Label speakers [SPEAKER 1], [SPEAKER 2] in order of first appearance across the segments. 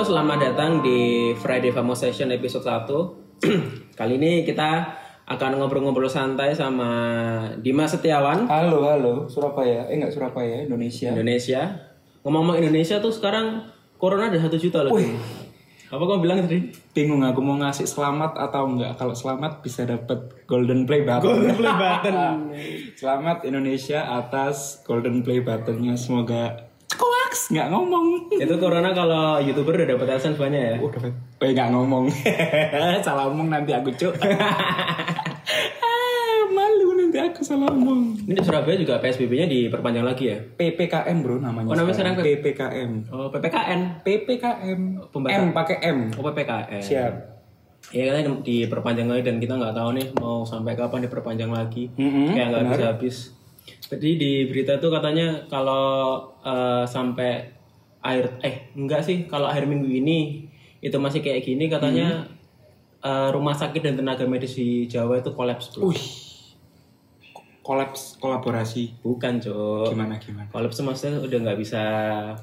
[SPEAKER 1] selamat datang di Friday Famos Session episode 1 Kali ini kita akan ngobrol-ngobrol santai sama Dimas Setiawan
[SPEAKER 2] Halo, halo, Surabaya. Eh, enggak Surabaya, Indonesia.
[SPEAKER 1] Indonesia Ngomong-ngomong Indonesia tuh sekarang Corona ada satu juta loh
[SPEAKER 2] Wih.
[SPEAKER 1] Apa kamu bilang tadi?
[SPEAKER 2] Bingung aku mau ngasih selamat atau enggak. Kalau selamat bisa dapat golden play button.
[SPEAKER 1] Golden play button.
[SPEAKER 2] selamat Indonesia atas golden play buttonnya. Semoga koaks nggak ngomong.
[SPEAKER 1] Itu Corona kalau YouTuber udah dapat adsense banyak ya
[SPEAKER 2] Oh, dapat. Eh, nggak ngomong. salah ngomong nanti aku cuk. Ah, Malu nanti aku salah ngomong.
[SPEAKER 1] Ini di Surabaya juga PSBB-nya diperpanjang lagi ya
[SPEAKER 2] PPKM bro namanya.
[SPEAKER 1] Oh, namanya sekarang
[SPEAKER 2] PPKM.
[SPEAKER 1] Oh PPKN
[SPEAKER 2] PPKM.
[SPEAKER 1] Pembatas-
[SPEAKER 2] M pakai M.
[SPEAKER 1] Oh PPKN
[SPEAKER 2] Siap.
[SPEAKER 1] Ya katanya diperpanjang lagi dan kita nggak tahu nih mau sampai kapan diperpanjang lagi.
[SPEAKER 2] Mm-mm,
[SPEAKER 1] Kayak nggak bisa habis. Tadi di berita tuh katanya kalau eh, sampai akhir eh enggak sih kalau akhir minggu ini itu masih kayak gini katanya eh, rumah sakit dan tenaga medis di Jawa itu kolaps bro.
[SPEAKER 2] Wih. Kolaps kolaborasi
[SPEAKER 1] Bukan cok.
[SPEAKER 2] gimana gimana?
[SPEAKER 1] Kolaps tuh maksudnya udah nggak bisa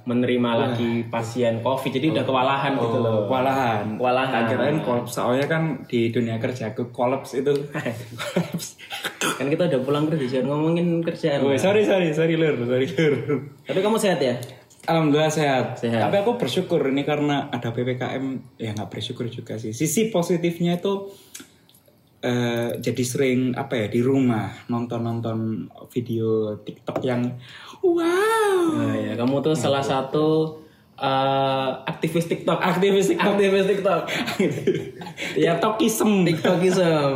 [SPEAKER 1] menerima lagi pasien covid jadi udah kewalahan gitu loh.
[SPEAKER 2] Oh. Kewalahan.
[SPEAKER 1] Kewalahan.
[SPEAKER 2] Tak kirain kolaps soalnya kan di dunia kerja aku kolaps itu. Kolaps.
[SPEAKER 1] Kan kita udah pulang kerja jangan ngomongin kerjaan.
[SPEAKER 2] Woi, sorry sorry sorry lur, sorry lur.
[SPEAKER 1] Tapi kamu sehat ya?
[SPEAKER 2] Alhamdulillah sehat.
[SPEAKER 1] Sehat.
[SPEAKER 2] Tapi aku bersyukur ini karena ada PPKM ya nggak bersyukur juga sih. Sisi positifnya itu eh, jadi sering apa ya di rumah nonton-nonton video TikTok yang wow.
[SPEAKER 1] Nah, ya, kamu
[SPEAKER 2] Iya.
[SPEAKER 1] tuh salah satu eh, aktivis TikTok, aktivis TikTok, aktivis TikTok. Iya,
[SPEAKER 2] ya TikTokism.
[SPEAKER 1] TikTokism.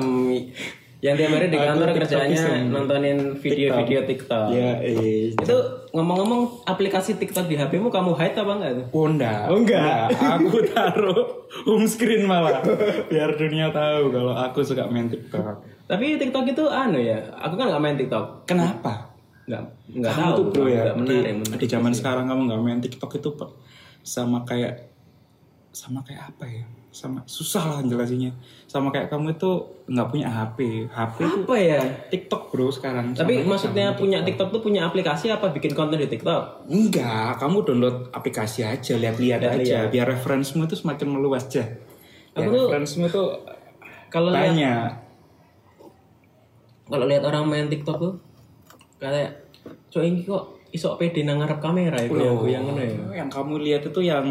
[SPEAKER 1] Yang tiap hari di
[SPEAKER 2] Aku
[SPEAKER 1] kantor kerjaannya
[SPEAKER 2] TikTokism.
[SPEAKER 1] nontonin video-video TikTok.
[SPEAKER 2] Ya, eh.
[SPEAKER 1] Itu ngomong-ngomong aplikasi TikTok di HPmu kamu hide apa enggak tuh?
[SPEAKER 2] Oh enggak,
[SPEAKER 1] Oh, enggak.
[SPEAKER 2] Enggak. Aku taruh home screen malah biar dunia tahu kalau aku suka main TikTok.
[SPEAKER 1] Tapi TikTok itu anu ya, aku kan nggak main TikTok.
[SPEAKER 2] Kenapa?
[SPEAKER 1] Nggak nggak
[SPEAKER 2] Kamu
[SPEAKER 1] tahu.
[SPEAKER 2] tuh bro ya
[SPEAKER 1] nggak menarik.
[SPEAKER 2] di,
[SPEAKER 1] menurut
[SPEAKER 2] di zaman sekarang kamu nggak main TikTok itu pe- sama kayak sama kayak apa ya? Sama susah lah jelasinnya. Sama kayak kamu itu nggak punya HP,
[SPEAKER 1] aku.
[SPEAKER 2] HP
[SPEAKER 1] Apa ya?
[SPEAKER 2] TikTok bro sekarang.
[SPEAKER 1] Tapi
[SPEAKER 2] Sama-
[SPEAKER 1] maksudnya punya TikTok tuh punya aplikasi apa bikin konten di TikTok?
[SPEAKER 2] enggak, kamu download aplikasi aja, lihat-lihat aja, biar referensimu itu semakin meluas aja.
[SPEAKER 1] Aku
[SPEAKER 2] Ya,
[SPEAKER 1] tuh-
[SPEAKER 2] referensimu tuh
[SPEAKER 1] Kalau lihat
[SPEAKER 2] banyak.
[SPEAKER 1] kalau lihat orang main TikTok tuh kayak cowok ini kok iso pede nang ngarep kamera ya oh,
[SPEAKER 2] Loh,
[SPEAKER 1] yang ngono ya.
[SPEAKER 2] yang kamu lihat itu yang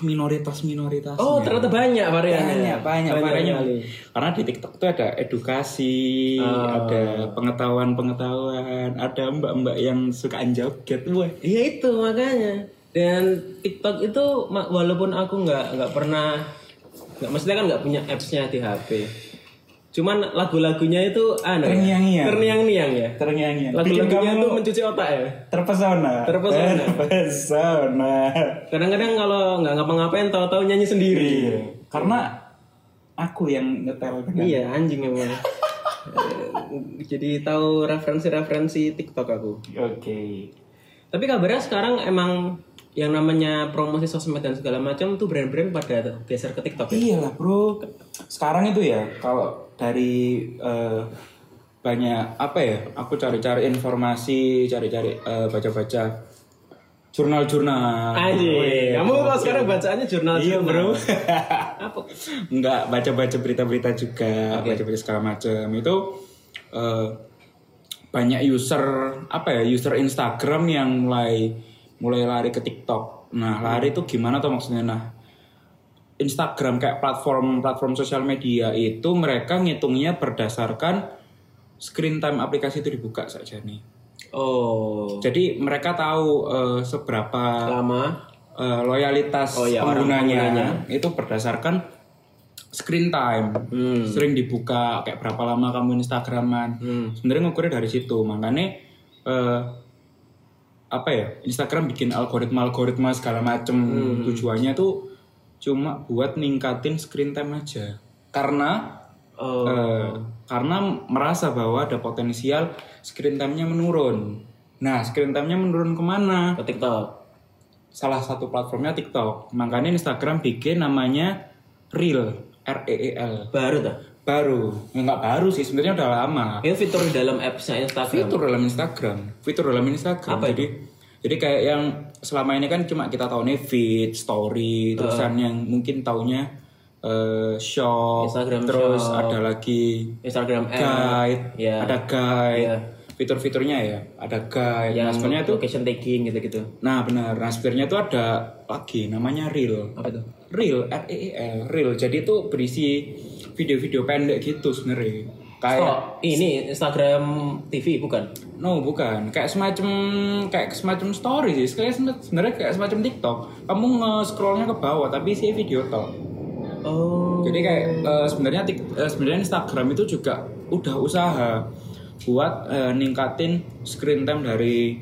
[SPEAKER 2] minoritas minoritas
[SPEAKER 1] Oh, ternyata banyak variannya.
[SPEAKER 2] Iya, banyak banyak
[SPEAKER 1] variannya.
[SPEAKER 2] banyak karena di TikTok tuh ada edukasi ada pengetahuan pengetahuan ada mbak mbak yang suka joget wah
[SPEAKER 1] Iya itu makanya. Dan TikTok itu ma- walaupun aku nggak nggak pernah nggak maksudnya kan nggak punya apps-nya di HP. Cuman lagu-lagunya itu anu ya,
[SPEAKER 2] Terngiang-ngiang.
[SPEAKER 1] Terngiang-ngiang ya.
[SPEAKER 2] terngiang bikin
[SPEAKER 1] Lagu-lagunya
[SPEAKER 2] kamu
[SPEAKER 1] tuh mencuci otak ya.
[SPEAKER 2] terpesona
[SPEAKER 1] Terpesona.
[SPEAKER 2] terpesona
[SPEAKER 1] Kadang-kadang kalau nggak ngapa-ngapain tahu-tahu nyanyi sendiri.
[SPEAKER 2] iya karena aku yang kan. ngetel dengan
[SPEAKER 1] Iya anjing emang. Eh, Jadi tahu referensi-referensi TikTok aku.
[SPEAKER 2] oke
[SPEAKER 1] Tapi kabarnya sekarang emang yang namanya promosi sosmed dan segala macam tuh brand-brand pada geser ke TikTok ya.
[SPEAKER 2] Iya lah bro. Sekarang itu ya kalau dari eh, banyak apa ya? Aku cari-cari informasi, cari-cari eh, baca-baca jurnal-jurnal.
[SPEAKER 1] Anjing, kamu kok sekarang bacaannya jurnal
[SPEAKER 2] Iya bro.
[SPEAKER 1] Apa?
[SPEAKER 2] Enggak baca-baca berita-berita juga, baca-baca segala macam itu eh, banyak user apa ya? User Instagram yang mulai mulai lari ke TikTok. Nah
[SPEAKER 1] Hmm.
[SPEAKER 2] lari itu gimana tuh maksudnya? Nah Instagram kayak platform-platform sosial media itu mereka ngitungnya berdasarkan screen time aplikasi itu dibuka saja nih.
[SPEAKER 1] Oh,
[SPEAKER 2] Jadi mereka tahu eh, seberapa
[SPEAKER 1] lama.
[SPEAKER 2] eh, loyalitas
[SPEAKER 1] Oh, iya, orang
[SPEAKER 2] penggunanya, itu berdasarkan screen time.
[SPEAKER 1] Hmm.
[SPEAKER 2] Sering dibuka kayak berapa lama kamu Instagraman.
[SPEAKER 1] Hmm.
[SPEAKER 2] Sebenarnya ngukurnya dari situ. Makanya eh, apa ya? Instagram bikin algoritma-algoritma segala macem
[SPEAKER 1] Hmm.
[SPEAKER 2] tujuannya tuh cuma buat ningkatin screen time aja. Karena
[SPEAKER 1] Oh,
[SPEAKER 2] Eh, karena merasa bahwa ada potensial screen time-nya menurun. Nah, screen time-nya menurun kemana?
[SPEAKER 1] ke TikTok.
[SPEAKER 2] salah satu platformnya TikTok. Makanya Instagram bikin namanya Reel, R E E L.
[SPEAKER 1] Baru tuh.
[SPEAKER 2] Baru, Ya, nggak baru sih, sebenarnya udah lama.
[SPEAKER 1] Itu fitur di dalam apps-nya Instagram.
[SPEAKER 2] Fitur dalam Instagram, fitur dalam Instagram. Jadi Jadi kayak yang selama ini kan cuma kita tahu nih feed, story, terusan yang mungkin taunya eh shop,
[SPEAKER 1] Instagram
[SPEAKER 2] terus
[SPEAKER 1] shop.
[SPEAKER 2] ada lagi
[SPEAKER 1] Instagram ad,
[SPEAKER 2] guide,
[SPEAKER 1] ya.
[SPEAKER 2] ada guide,
[SPEAKER 1] Ya.
[SPEAKER 2] fitur-fiturnya ya, ada
[SPEAKER 1] ya
[SPEAKER 2] guide. Nah, sebenarnya tuh,
[SPEAKER 1] location tagging gitu-gitu.
[SPEAKER 2] nah benar, nah sebenarnya tuh ada lagi namanya reel,
[SPEAKER 1] Apa itu?
[SPEAKER 2] reel, R E E L, reel. Jadi itu berisi video-video pendek gitu sebenarnya. Kayak
[SPEAKER 1] Oh, ini Instagram TV bukan?
[SPEAKER 2] No bukan, kayak semacam kayak semacam story sih. Kayak sem- sebenarnya kayak semacam TikTok. Kamu nge-scrollnya ke bawah tapi sih video tok.
[SPEAKER 1] Oh.
[SPEAKER 2] Jadi kayak eh, sebenarnya tik- eh, sebenarnya Instagram itu juga udah usaha buat eh, ningkatin screen time dari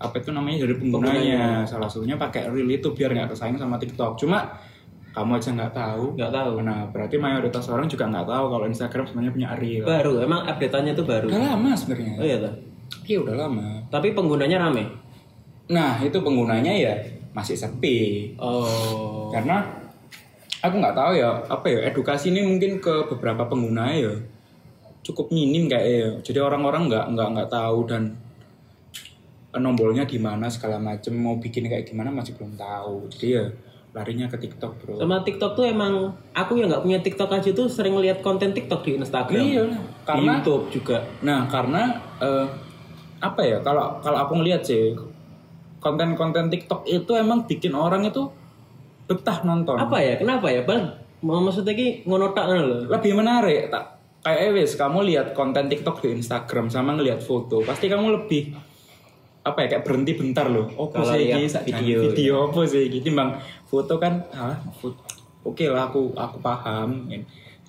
[SPEAKER 2] apa itu namanya dari penggunanya. Salah satunya pakai reel itu biar nggak kesaing sama TikTok. Cuma kamu aja nggak tahu.
[SPEAKER 1] Nggak tahu.
[SPEAKER 2] Nah berarti mayoritas orang juga nggak tahu kalau Instagram sebenarnya punya reel.
[SPEAKER 1] Baru, emang update-annya tuh baru.
[SPEAKER 2] Udah lama
[SPEAKER 1] Oh
[SPEAKER 2] sebenarnya.
[SPEAKER 1] iya tuh.
[SPEAKER 2] Iya udah lama.
[SPEAKER 1] Tapi penggunanya rame.
[SPEAKER 2] Nah itu penggunanya ya masih sepi
[SPEAKER 1] Oh.
[SPEAKER 2] karena aku nggak tahu ya apa ya edukasi ini mungkin ke beberapa pengguna ya cukup minim kayak ya jadi orang-orang nggak nggak nggak tahu dan eh, nombolnya gimana segala macem mau bikin kayak gimana masih belum tahu jadi ya larinya ke TikTok bro
[SPEAKER 1] Sama TikTok tuh emang aku yang nggak punya TikTok aja tuh sering lihat konten TikTok di Instagram.
[SPEAKER 2] Iya,
[SPEAKER 1] Di
[SPEAKER 2] karena-
[SPEAKER 1] YouTube juga.
[SPEAKER 2] Nah, karena eh, apa ya? Kalau kalau aku ngeliat sih konten-konten TikTok itu emang bikin orang itu betah nonton.
[SPEAKER 1] Apa ya? Kenapa ya, Bang? Mau maksudnya ki ngono tak ngono loh.
[SPEAKER 2] Lebih menarik tak? Kayak eh, wis kamu lihat konten TikTok di Instagram sama ngelihat foto, pasti kamu lebih apa ya kayak berhenti bentar loh. Oh,
[SPEAKER 1] Kalau
[SPEAKER 2] sih
[SPEAKER 1] lihat
[SPEAKER 2] iki sak
[SPEAKER 1] video,
[SPEAKER 2] video, video apa sih iki timbang foto kan ah foto. Oke lah aku aku paham.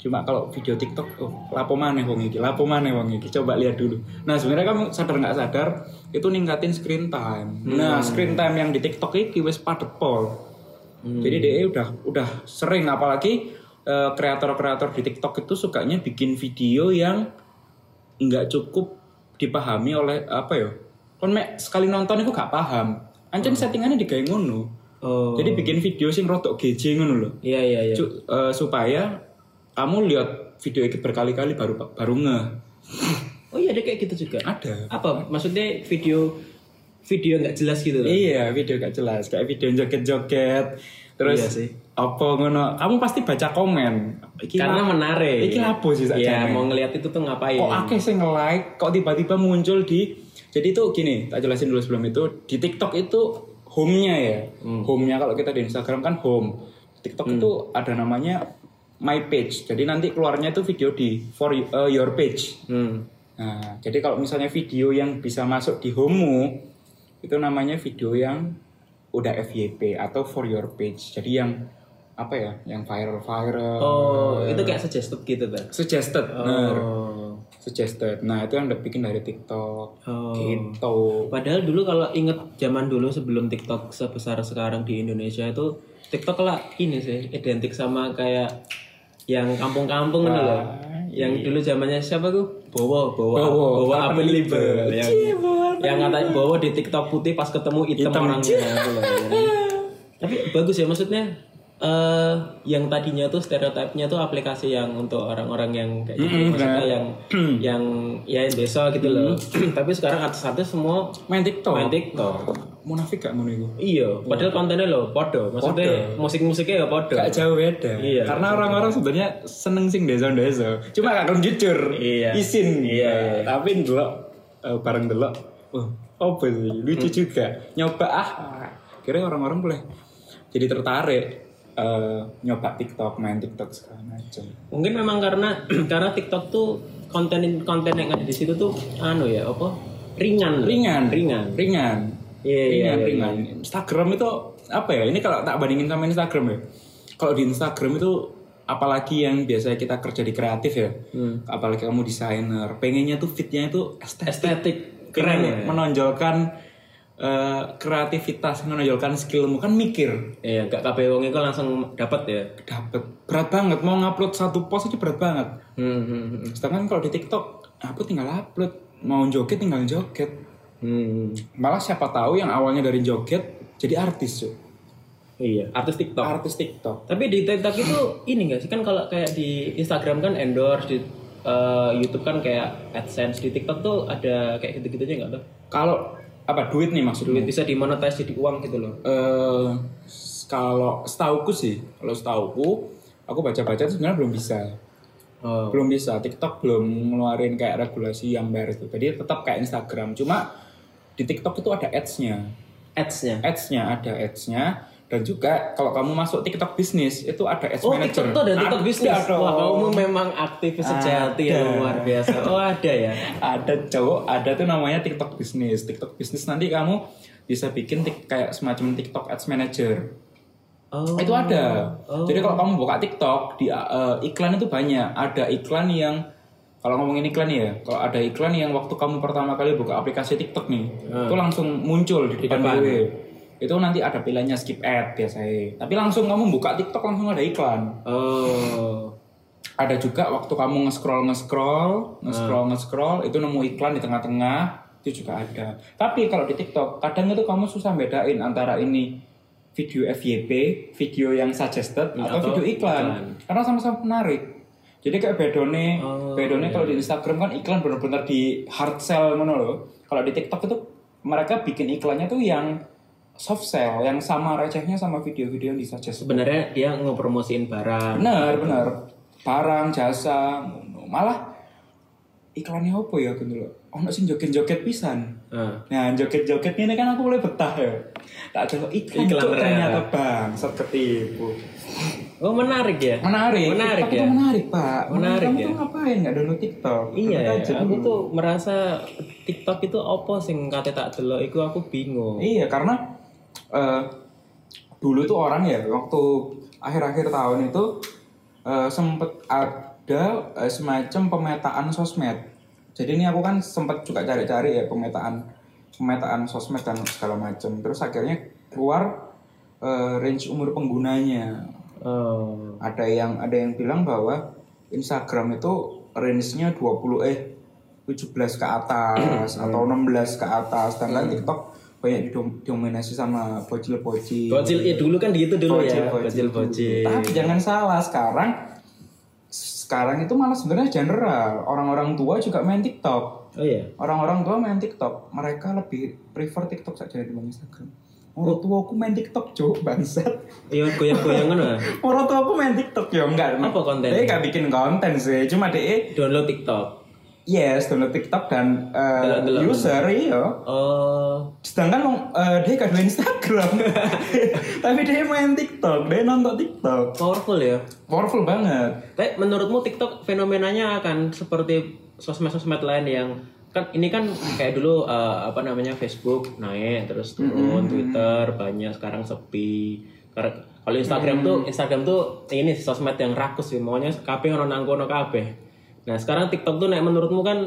[SPEAKER 2] Cuma kalau video TikTok, oh, lapo maneh wong iki, lapo maneh wong iki, coba lihat dulu. Nah sebenarnya kamu sadar nggak sadar itu ningkatin screen time.
[SPEAKER 1] Hmm.
[SPEAKER 2] Nah screen time yang di TikTok iki wis padet pol.
[SPEAKER 1] Hmm.
[SPEAKER 2] Jadi dia udah udah sering apalagi eh, kreator-kreator di TikTok itu sukanya bikin video yang nggak cukup dipahami oleh apa ya? Kon mek sekali nonton itu gak paham. Ancen
[SPEAKER 1] Hmm.
[SPEAKER 2] settingannya digawe ngono.
[SPEAKER 1] Oh.
[SPEAKER 2] Jadi bikin video sing rodok geje ngono lho.
[SPEAKER 1] Iya iya iya.
[SPEAKER 2] Cu- eh, supaya kamu lihat video itu berkali-kali baru baru ngeh.
[SPEAKER 1] Oh iya ada kayak gitu juga.
[SPEAKER 2] Ada.
[SPEAKER 1] Apa maksudnya video video nggak jelas gitu loh.
[SPEAKER 2] Iya, video gak jelas, kayak video joget-joget. Terus
[SPEAKER 1] Iya sih.
[SPEAKER 2] apa ngono? Kamu pasti baca komen. Iki
[SPEAKER 1] Karena menarik.
[SPEAKER 2] Iki lapo sih
[SPEAKER 1] Iya,
[SPEAKER 2] sakjane.
[SPEAKER 1] mau ngelihat itu tuh ngapain?
[SPEAKER 2] kok akeh sing like kok tiba-tiba muncul di jadi itu gini tak jelasin dulu sebelum itu di TikTok itu home-nya ya
[SPEAKER 1] Hmm.
[SPEAKER 2] home-nya kalau kita di Instagram kan home TikTok itu ada namanya my page jadi nanti keluarnya itu video di for you- eh, your page
[SPEAKER 1] Hmm.
[SPEAKER 2] nah jadi kalau misalnya video yang bisa masuk di home itu namanya video yang udah FYP atau for your page jadi yang apa ya yang viral viral
[SPEAKER 1] Oh, itu kayak suggested gitu kan.
[SPEAKER 2] suggested bener
[SPEAKER 1] Oh.
[SPEAKER 2] suggested. Nah itu yang dibikin dari TikTok
[SPEAKER 1] Oh.
[SPEAKER 2] gitu.
[SPEAKER 1] Padahal dulu kalau inget zaman dulu sebelum TikTok sebesar sekarang di Indonesia itu TikTok lah ini sih identik sama kayak yang kampung-kampung gitu loh. Yang dulu zamannya siapa tuh? Bowo, Bowo,
[SPEAKER 2] Bowo,
[SPEAKER 1] Urban Libel. Yang,
[SPEAKER 2] Cie, Bowo
[SPEAKER 1] yang katanya Bowo di TikTok putih pas ketemu hitam,
[SPEAKER 2] Hitam.
[SPEAKER 1] orangnya gitu loh. Tapi bagus ya maksudnya eh yang tadinya tuh stereotipnya tuh aplikasi yang untuk orang-orang yang kayak gitu maksudnya yang yang ya desa gitu loh. Tapi sekarang artis-artis semua
[SPEAKER 2] Main TikTok.
[SPEAKER 1] main TikTok.
[SPEAKER 2] Munafik gak ngono iku?
[SPEAKER 1] Iya, padahal kontennya loh podo. Maksudnya musik-musiknya ya podo.
[SPEAKER 2] Gak jauh beda.
[SPEAKER 1] Iya.
[SPEAKER 2] Karena orang-orang sebenarnya seneng sing desa-desa. Cuma gak kon jujur.
[SPEAKER 1] Iya.
[SPEAKER 2] Isin.
[SPEAKER 1] Iya,
[SPEAKER 2] Nah, Tapi delok eh, bareng delok. Wah, apa sih? Lucu
[SPEAKER 1] Mm.
[SPEAKER 2] juga. Nyoba ah. Kira orang-orang boleh jadi tertarik eh, nyoba TikTok, main TikTok segala macam.
[SPEAKER 1] Mungkin memang karena karena TikTok tuh konten konten yang ada di situ tuh anu ya, apa? Ringan.
[SPEAKER 2] Ringan,
[SPEAKER 1] Ringan.
[SPEAKER 2] Ringan.
[SPEAKER 1] Iya, iya,
[SPEAKER 2] ringan,
[SPEAKER 1] iya,
[SPEAKER 2] ringan. Instagram itu apa ya? Ini kalau tak bandingin sama Instagram ya. Kalau di Instagram itu apalagi yang biasanya kita kerja di kreatif ya.
[SPEAKER 1] Hmm.
[SPEAKER 2] Apalagi kamu desainer, pengennya tuh fitnya itu estetik,
[SPEAKER 1] Estetik
[SPEAKER 2] keren,
[SPEAKER 1] keren ya.
[SPEAKER 2] menonjolkan eh, kreativitas, menonjolkan skillmu kan mikir.
[SPEAKER 1] Iya, gak kabeh wong iku langsung dapat ya.
[SPEAKER 2] Dapet berat banget mau ngupload satu post aja berat banget.
[SPEAKER 1] Hmm, hmm, hmm.
[SPEAKER 2] Sedangkan kalau di TikTok, aku tinggal upload, mau joget tinggal joget.
[SPEAKER 1] Hmm.
[SPEAKER 2] Malah siapa tahu yang awalnya dari joget jadi artis cuy.
[SPEAKER 1] Iya, artis TikTok.
[SPEAKER 2] Artis TikTok.
[SPEAKER 1] Tapi di TikTok itu ini gak sih kan kalau kayak di Instagram kan endorse di eh, YouTube kan kayak AdSense di TikTok tuh ada kayak gitu-gitunya nggak tuh?
[SPEAKER 2] Kalau apa duit nih maksudnya
[SPEAKER 1] duit bisa dimonetize jadi uang gitu loh
[SPEAKER 2] eh kalau setauku sih, kalau setauku, aku baca-baca tuh sebenarnya belum bisa.
[SPEAKER 1] oh.
[SPEAKER 2] Belum bisa. TikTok belum ngeluarin kayak regulasi yang baru tuh. Jadi tetap kayak Instagram, cuma di TikTok itu ada ads-nya.
[SPEAKER 1] ads-nya
[SPEAKER 2] Ads-nya ada ads-nya dan juga kalau kamu masuk TikTok bisnis itu ada ads
[SPEAKER 1] Oh TikTok
[SPEAKER 2] manager.
[SPEAKER 1] tuh ada TikTok bisnis
[SPEAKER 2] dong.
[SPEAKER 1] Wah kamu memang aktif sejati ya
[SPEAKER 2] Ada.
[SPEAKER 1] luar biasa Oh ada ya
[SPEAKER 2] ada cowok ada tuh namanya TikTok bisnis. TikTok bisnis nanti kamu bisa bikin tik- kayak semacam TikTok ads manager.
[SPEAKER 1] Oh
[SPEAKER 2] itu ada
[SPEAKER 1] Oh.
[SPEAKER 2] jadi kalau kamu buka TikTok di eh, iklan itu banyak ada iklan yang kalau ngomongin iklan ya kalau ada iklan yang waktu kamu pertama kali buka aplikasi TikTok nih itu langsung muncul Eh. di depan,
[SPEAKER 1] depan.
[SPEAKER 2] gue itu nanti ada pilihannya skip ad biasanya tapi langsung kamu buka TikTok langsung ada iklan
[SPEAKER 1] Oh
[SPEAKER 2] ada juga waktu kamu nge-scroll nge-scroll nge-scroll
[SPEAKER 1] Hmm.
[SPEAKER 2] nge-scroll itu nemu iklan di tengah-tengah itu juga ada tapi kalau di TikTok kadang itu kamu susah bedain antara ini video FYP video yang suggested atau,
[SPEAKER 1] Iya, atau
[SPEAKER 2] video iklan
[SPEAKER 1] iklan.
[SPEAKER 2] karena sama-sama menarik jadi kayak bedone
[SPEAKER 1] Oh,
[SPEAKER 2] bedone kalau di Instagram kan iklan bener-bener di hard sell ngono loh kalau di TikTok itu mereka bikin iklannya tuh yang soft sell yang sama recehnya sama video-video yang di suggested
[SPEAKER 1] Sebenarnya dia ngepromosiin barang
[SPEAKER 2] benar benar barang jasa ngono. malah iklannya apa ya aku dulu ono sing joget-joget pisan
[SPEAKER 1] Ah.
[SPEAKER 2] nah joget-joget ini kan aku mulai betah ya tak ada iklan,
[SPEAKER 1] Iklan
[SPEAKER 2] Cuk,
[SPEAKER 1] ternyata.
[SPEAKER 2] ternyata bang ketipu
[SPEAKER 1] Oh menarik ya
[SPEAKER 2] menarik
[SPEAKER 1] Menarik
[SPEAKER 2] TikTok
[SPEAKER 1] ya?
[SPEAKER 2] itu menarik pak
[SPEAKER 1] Menarik
[SPEAKER 2] kamu
[SPEAKER 1] ya?
[SPEAKER 2] tuh ngapain nggak download TikTok Download
[SPEAKER 1] Iya,
[SPEAKER 2] aja
[SPEAKER 1] aku
[SPEAKER 2] dulu.
[SPEAKER 1] tuh merasa TikTok itu opo sing kate tak delok iku aku bingung.
[SPEAKER 2] Iya karena eh, dulu tuh orang ya waktu akhir-akhir tahun itu eh, sempet ada eh, semacam pemetaan sosmed. Jadi ini aku kan sempet juga cari-cari ya pemetaan pemetaan sosmed dan segala macam. Terus akhirnya keluar eh, range umur penggunanya.
[SPEAKER 1] Oh,
[SPEAKER 2] Ada yang ada yang bilang bahwa Instagram itu range-nya 20 eh 17 ke atas
[SPEAKER 1] Hmm.
[SPEAKER 2] atau 16 ke atas, sedangkan TikTok banyak didominasi sama bocil-bocil.
[SPEAKER 1] bocil ya dulu kan gitu dulu ya,
[SPEAKER 2] Bocil-bocil
[SPEAKER 1] bocil bocil.
[SPEAKER 2] Tapi jangan salah, sekarang sekarang itu malah sebenarnya general. Orang-orang tua juga main TikTok.
[SPEAKER 1] Oh iya.
[SPEAKER 2] Orang-orang tua main TikTok, mereka lebih prefer TikTok saja dibanding Instagram. Orang tua aku main TikTok, cuk, bangsat.
[SPEAKER 1] Iya goyang-goyang ngono. ah.
[SPEAKER 2] Orang tua aku main TikTok ya enggak.
[SPEAKER 1] Apa kontennya?
[SPEAKER 2] Dia gak bikin konten sih, cuma dia
[SPEAKER 1] Download TikTok.
[SPEAKER 2] yes download TikTok dan eh,
[SPEAKER 1] Delok-delok.
[SPEAKER 2] user iya.
[SPEAKER 1] Oh,
[SPEAKER 2] Sedangkan wong, eh, dia gak main Instagram, tapi dia main TikTok, dia nonton TikTok.
[SPEAKER 1] powerful ya.
[SPEAKER 2] Powerful banget.
[SPEAKER 1] Tapi menurutmu TikTok fenomenanya akan seperti sosmed-sosmed lain yang kan ini kan kayak dulu eh, apa namanya Facebook naik terus turun Twitter banyak sekarang sepi. Kar- Kalau Instagram tuh Instagram tuh ini sosmed yang rakus sih maunya kabeh ono nang kono kabeh. Nah, sekarang TikTok tuh nek menurutmu kan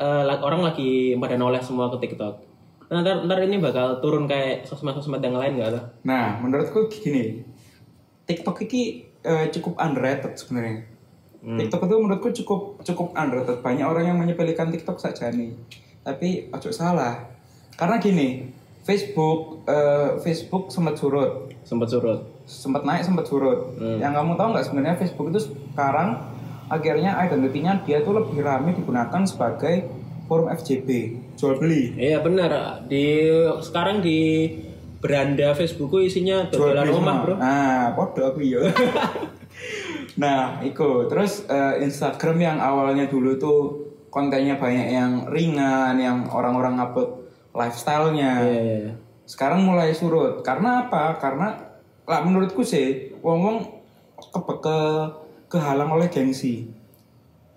[SPEAKER 1] eh, la- orang lagi pada noleh semua ke TikTok. Nah, ntar, ntar ini bakal turun kayak sosmed-sosmed yang lain gak ada?
[SPEAKER 2] Nah, menurutku gini, TikTok ini eh, cukup underrated sebenarnya. TikTok itu menurutku cukup cukup underrated. Banyak orang yang menyepelekan TikTok saja nih. Tapi ojo salah. Karena gini, Facebook eh, Facebook sempat surut,
[SPEAKER 1] Sempet surut.
[SPEAKER 2] sempat naik, sempat surut. Yang kamu tahu nggak sebenarnya Facebook itu sekarang akhirnya identitinya dia tuh lebih ramai digunakan sebagai forum FJB, jual beli.
[SPEAKER 1] Iya benar. Di sekarang di beranda Facebookku isinya dodolan
[SPEAKER 2] Jual beli
[SPEAKER 1] rumah,
[SPEAKER 2] semua.
[SPEAKER 1] Bro.
[SPEAKER 2] Nah, podo aku ya. nah, iku. Terus eh, Instagram yang awalnya dulu tuh kontennya banyak yang ringan, yang orang-orang upload lifestyle-nya.
[SPEAKER 1] Iya, iya, iya.
[SPEAKER 2] Sekarang mulai surut. Karena apa? Karena lah menurutku sih, wong-wong ke, ke- kehalang oleh gengsi.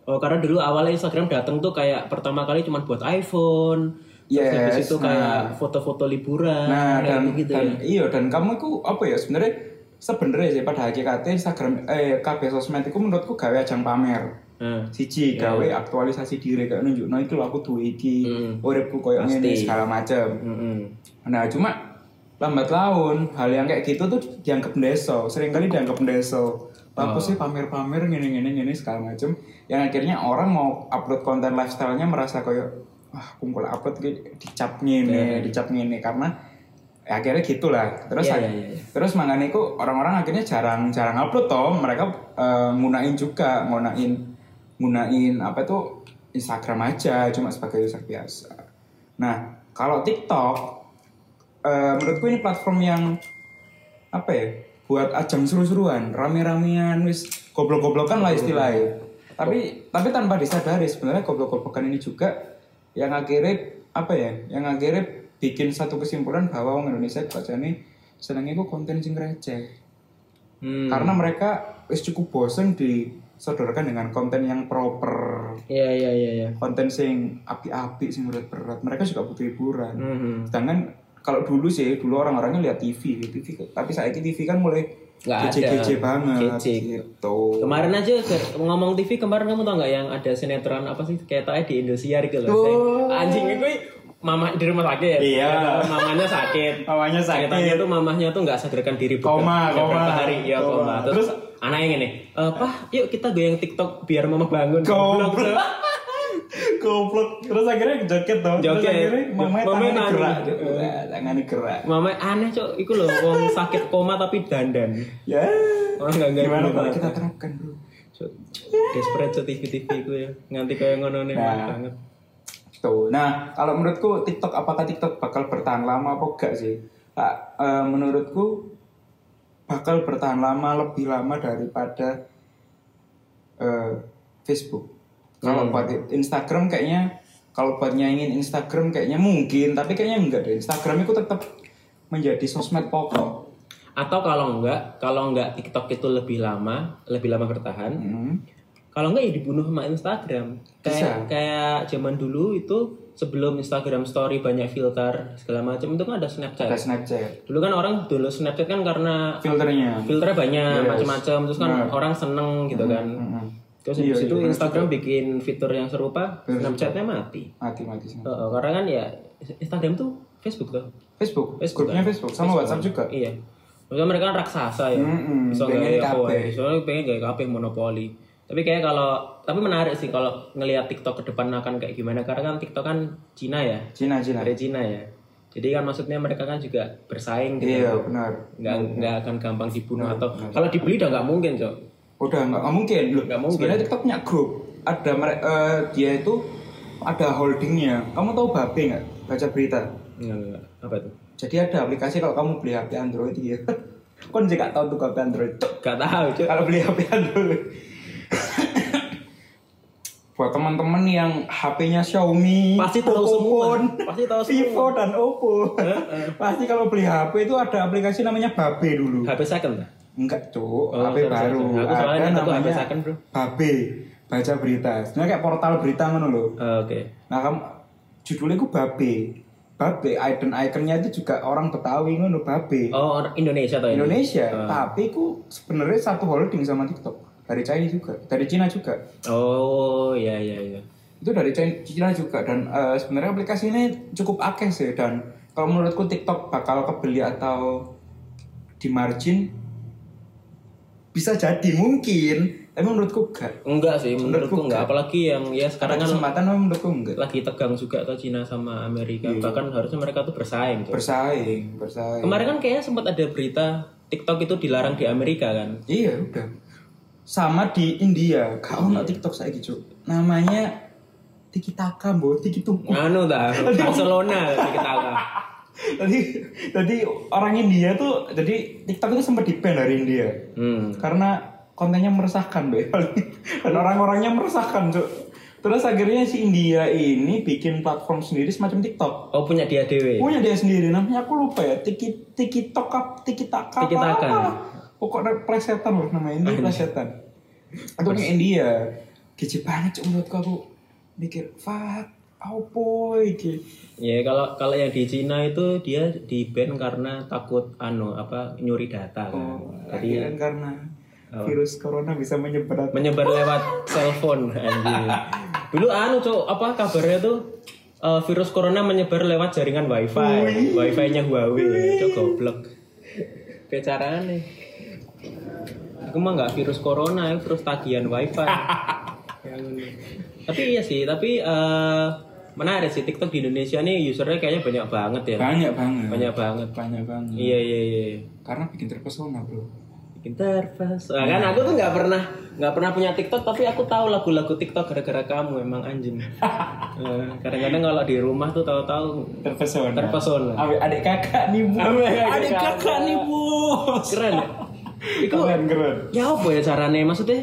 [SPEAKER 1] Oh, karena dulu awalnya Instagram datang tuh kayak pertama kali cuman buat iPhone. Terus
[SPEAKER 2] Yes,
[SPEAKER 1] habis itu
[SPEAKER 2] nah.
[SPEAKER 1] kayak foto-foto liburan
[SPEAKER 2] Nah,
[SPEAKER 1] kayak
[SPEAKER 2] dan,
[SPEAKER 1] gitu
[SPEAKER 2] dan
[SPEAKER 1] ya.
[SPEAKER 2] iya dan kamu itu apa ya sebenarnya sebenarnya sih pada hakikatnya Instagram eh KB sosmed itu menurutku gawe ajang pamer.
[SPEAKER 1] Nah,
[SPEAKER 2] siji gawe aktualisasi diri kayak nunjukno iki lho aku duwe iki
[SPEAKER 1] Hmm.
[SPEAKER 2] uripku koyo ngene segala macam
[SPEAKER 1] mm-mm.
[SPEAKER 2] nah cuma lambat laun hal yang kayak gitu tuh dianggap deso seringkali dianggap deso
[SPEAKER 1] Oh.
[SPEAKER 2] bagus sih pamer-pamer ngene-ngene ngene segala macam yang akhirnya orang mau upload konten lifestyle-nya merasa koyo wah aku mulai upload ki dicap ngene dicap ngene karena ya, akhirnya gitulah terus
[SPEAKER 1] Iya,
[SPEAKER 2] ak-
[SPEAKER 1] iya, iya, iya.
[SPEAKER 2] terus makanya itu orang-orang akhirnya jarang jarang upload toh mereka eh, ngunain juga ngunain ngunain apa tuh Instagram aja cuma sebagai user biasa nah Kalau TikTok, eh, menurutku ini platform yang apa ya? Buat ajang seru-seruan, rame-ramean, wis goblok-goblokan lah istilahnya. Tapi tapi tanpa disadari sebenarnya goblok-goblokan ini juga yang akhirnya apa ya? Yang akhirnya bikin satu kesimpulan bahwa orang Indonesia bacane senengnya ku konten sing receh
[SPEAKER 1] Hmm.
[SPEAKER 2] karena mereka wis cukup bosen disodorkan dengan konten yang proper
[SPEAKER 1] Iya iya iya iya.
[SPEAKER 2] konten sing api-api sing berat-berat mereka juga butuh hiburan
[SPEAKER 1] Mhm.
[SPEAKER 2] sedangkan kalau dulu sih dulu orang-orangnya lihat TV, TV tapi saat ini TV kan mulai
[SPEAKER 1] Nggak ada.
[SPEAKER 2] kece-kece banget
[SPEAKER 1] Kece.
[SPEAKER 2] gitu
[SPEAKER 1] Kemarin aja ke- ngomong TV kemarin kamu tau nggak yang ada sinetron apa sih kayak tadi di Indosiar gitu loh.
[SPEAKER 2] Oh.
[SPEAKER 1] Anjingnya gue mama di rumah sakit.
[SPEAKER 2] Iya. Oh,
[SPEAKER 1] Mamanya sakit.
[SPEAKER 2] awalnya
[SPEAKER 1] Ceritanya tuh mamahnya tuh nggak sadarkan diri beberapa-
[SPEAKER 2] Koma,
[SPEAKER 1] beberapa
[SPEAKER 2] koma.
[SPEAKER 1] hari ya koma.
[SPEAKER 2] Koma.
[SPEAKER 1] Terus,
[SPEAKER 2] Terus-
[SPEAKER 1] anaknya gini, e, "Pah, yuk kita goyang TikTok biar mama bangun."
[SPEAKER 2] Goblok.
[SPEAKER 1] Goblok.
[SPEAKER 2] goblok terus akhirnya joget dong
[SPEAKER 1] Joget.
[SPEAKER 2] terus akhirnya mamanya
[SPEAKER 1] Mamanya
[SPEAKER 2] tangannya
[SPEAKER 1] nangis.
[SPEAKER 2] gerak Wah, tangannya gerak
[SPEAKER 1] Mama aneh cok, iku loh wong sakit koma tapi dandan.
[SPEAKER 2] ya
[SPEAKER 1] Orang nggak ngerti
[SPEAKER 2] gimana kalau
[SPEAKER 1] banget.
[SPEAKER 2] kita terapkan bro
[SPEAKER 1] Cok, Desperate cok TV TV ku ya, nganti kayak ngono nih
[SPEAKER 2] Nah.
[SPEAKER 1] banget.
[SPEAKER 2] Tuh. Nah, kalau menurutku TikTok apakah TikTok bakal bertahan lama apa enggak sih? Ah, eh, menurutku bakal bertahan lama lebih lama daripada eh, Facebook. Kalau buat Instagram kayaknya kalau buat nyaingin Instagram kayaknya mungkin, tapi kayaknya enggak deh. Instagram itu tetap menjadi sosmed pokok.
[SPEAKER 1] Atau kalau enggak, kalau enggak TikTok itu lebih lama, lebih lama bertahan.
[SPEAKER 2] Hmm.
[SPEAKER 1] Kalau enggak ya dibunuh sama Instagram. Kayak kayak zaman dulu itu sebelum Instagram Story banyak filter segala macam itu kan ada Snapchat.
[SPEAKER 2] Ada Snapchat,
[SPEAKER 1] Dulu kan orang download Snapchat kan karena
[SPEAKER 2] filternya.
[SPEAKER 1] filternya banyak macam-macam terus kan
[SPEAKER 2] Nah.
[SPEAKER 1] orang seneng gitu
[SPEAKER 2] Mm-hmm.
[SPEAKER 1] kan.
[SPEAKER 2] Mm-mm.
[SPEAKER 1] Terus
[SPEAKER 2] Iya,
[SPEAKER 1] habis itu Instagram bikin fitur yang serupa, Snapchatnya mati.
[SPEAKER 2] Mati-mati Snapchat.
[SPEAKER 1] Heeh, karena kan ya Instagram tuh Facebook tuh.
[SPEAKER 2] Facebook, grupnya Facebook sama WhatsApp juga.
[SPEAKER 1] Iya. Maksudnya mereka kan raksasa ya.
[SPEAKER 2] Mm-mm,
[SPEAKER 1] Bisa
[SPEAKER 2] Mm-hmm. pengen
[SPEAKER 1] gaya
[SPEAKER 2] kabeh.
[SPEAKER 1] apa ya. Soalnya pengen gaya kabeh monopoli. Tapi kayak kalau tapi menarik sih kalau ngelihat TikTok ke depan akan kayak gimana karena kan TikTok kan Cina ya.
[SPEAKER 2] Cina, Cina.
[SPEAKER 1] Dari Cina ya. Jadi kan maksudnya mereka kan juga bersaing gitu.
[SPEAKER 2] Iya, benar.
[SPEAKER 1] Nggak nggak akan gampang dibunuh atau kalau dibeli udah nggak mungkin, Cok.
[SPEAKER 2] udah nggak nggak mungkin loh
[SPEAKER 1] Nggak mungkin.
[SPEAKER 2] sebenarnya TikTok punya grup ada mere- eh, dia itu ada holdingnya kamu tahu babe nggak baca berita
[SPEAKER 1] Nggak, nggak. Apa itu?
[SPEAKER 2] jadi ada aplikasi kalau kamu beli HP Android ya kan juga tahu tuh HP Android Cuk,
[SPEAKER 1] Gak tahu, Cok.
[SPEAKER 2] kalau beli HP Android buat teman-teman yang HP-nya Xiaomi,
[SPEAKER 1] Pasti tahu
[SPEAKER 2] Poco
[SPEAKER 1] semua.
[SPEAKER 2] Phone,
[SPEAKER 1] Pasti tahu semua. Eh,
[SPEAKER 2] Vivo dan Oppo. Pasti kalau beli HP itu ada aplikasi namanya Babe dulu.
[SPEAKER 1] HP second lah.
[SPEAKER 2] Enggak
[SPEAKER 1] Oh,
[SPEAKER 2] tuh,
[SPEAKER 1] sorry, sorry,
[SPEAKER 2] HP baru.
[SPEAKER 1] sorry. Aku soalnya
[SPEAKER 2] Ada
[SPEAKER 1] nyetok HP
[SPEAKER 2] namanya
[SPEAKER 1] second, bro.
[SPEAKER 2] HP baca berita. Sebenarnya kayak portal berita ngono loh.
[SPEAKER 1] Eh, Oke.
[SPEAKER 2] Nah, kamu judulnya itu Babe. Babe, icon iconnya itu juga orang Betawi ngono Babe.
[SPEAKER 1] Oh, orang Indonesia tuh ini.
[SPEAKER 2] Indonesia, tapi ku sebenarnya satu holding sama TikTok. Dari China juga, dari Cina juga.
[SPEAKER 1] Oh, iya iya iya.
[SPEAKER 2] Itu dari China, Cina juga dan eh, sebenarnya aplikasi ini cukup akeh sih dan kalau menurutku TikTok bakal kebeli atau di margin bisa jadi mungkin, tapi menurutku enggak.
[SPEAKER 1] Enggak sih, menurutku enggak. Apalagi yang ya
[SPEAKER 2] Ada
[SPEAKER 1] sekarang kan
[SPEAKER 2] kesempatan tapi menurutku enggak.
[SPEAKER 1] lagi tegang juga tuh Cina sama Amerika. Bahkan harusnya mereka tuh bersaing. Cok.
[SPEAKER 2] Bersaing, bersaing.
[SPEAKER 1] Kemarin kan kayaknya sempat ada berita TikTok itu dilarang di Amerika kan.
[SPEAKER 2] Iya udah. Sama di India, kau ono TikTok saya gitu. Namanya Tiki Taka, mbok Tiki Tuku.
[SPEAKER 1] Anu dah, Barcelona kita
[SPEAKER 2] tadi tadi orang India tuh jadi TikTok itu sempat di ban dari India
[SPEAKER 1] Hmm.
[SPEAKER 2] karena kontennya meresahkan be dan orang-orangnya meresahkan cuk terus akhirnya si India ini bikin platform sendiri semacam TikTok
[SPEAKER 1] Oh punya dia dewe.
[SPEAKER 2] punya dia sendiri namanya aku lupa ya tiki tiki tokap tiki Ah, taka
[SPEAKER 1] Tiki Taka.
[SPEAKER 2] pokoknya plesetan loh nama ini plesetan atau kayak India kece banget cuk menurutku aku mikir fuck opo iki
[SPEAKER 1] Ya kalau kalau yang di Cina itu dia di ban karena takut anu apa nyuri data kan. Jadi
[SPEAKER 2] Oh, Akhirnya karena virus corona bisa menyebar
[SPEAKER 1] menyebar lewat cellphone anjing. Dulu anu cok apa kabarnya tuh eh, virus corona menyebar lewat jaringan wifi, wifi-nya Huawei, cok goblok. Kayak caranya. Aku mah nggak virus corona, ya, virus tagihan wifi. Ya, ngono. tapi iya sih, tapi eh, menarik sih TikTok di Indonesia nih usernya kayaknya banyak banget ya,
[SPEAKER 2] banyak banget
[SPEAKER 1] banyak banget.
[SPEAKER 2] banyak banget
[SPEAKER 1] Iya iya iya.
[SPEAKER 2] karena bikin terpesona bro
[SPEAKER 1] Makin terpesona. Nah, kan aku tuh nggak pernah nggak pernah punya TikTok tapi aku tahu lagu-lagu TikTok gara-gara kamu emang anjing. Eh, Kadang-kadang kalau di rumah tuh tahu-tahu
[SPEAKER 2] Terpesona.
[SPEAKER 1] terpesona.
[SPEAKER 2] Abe- Adik kakak nih, Bu.
[SPEAKER 1] Abe- adik
[SPEAKER 2] Adik kakak nih, Bu.
[SPEAKER 1] Keren ya? Itu
[SPEAKER 2] Keren, keren.
[SPEAKER 1] ya apa ya caranya maksudnya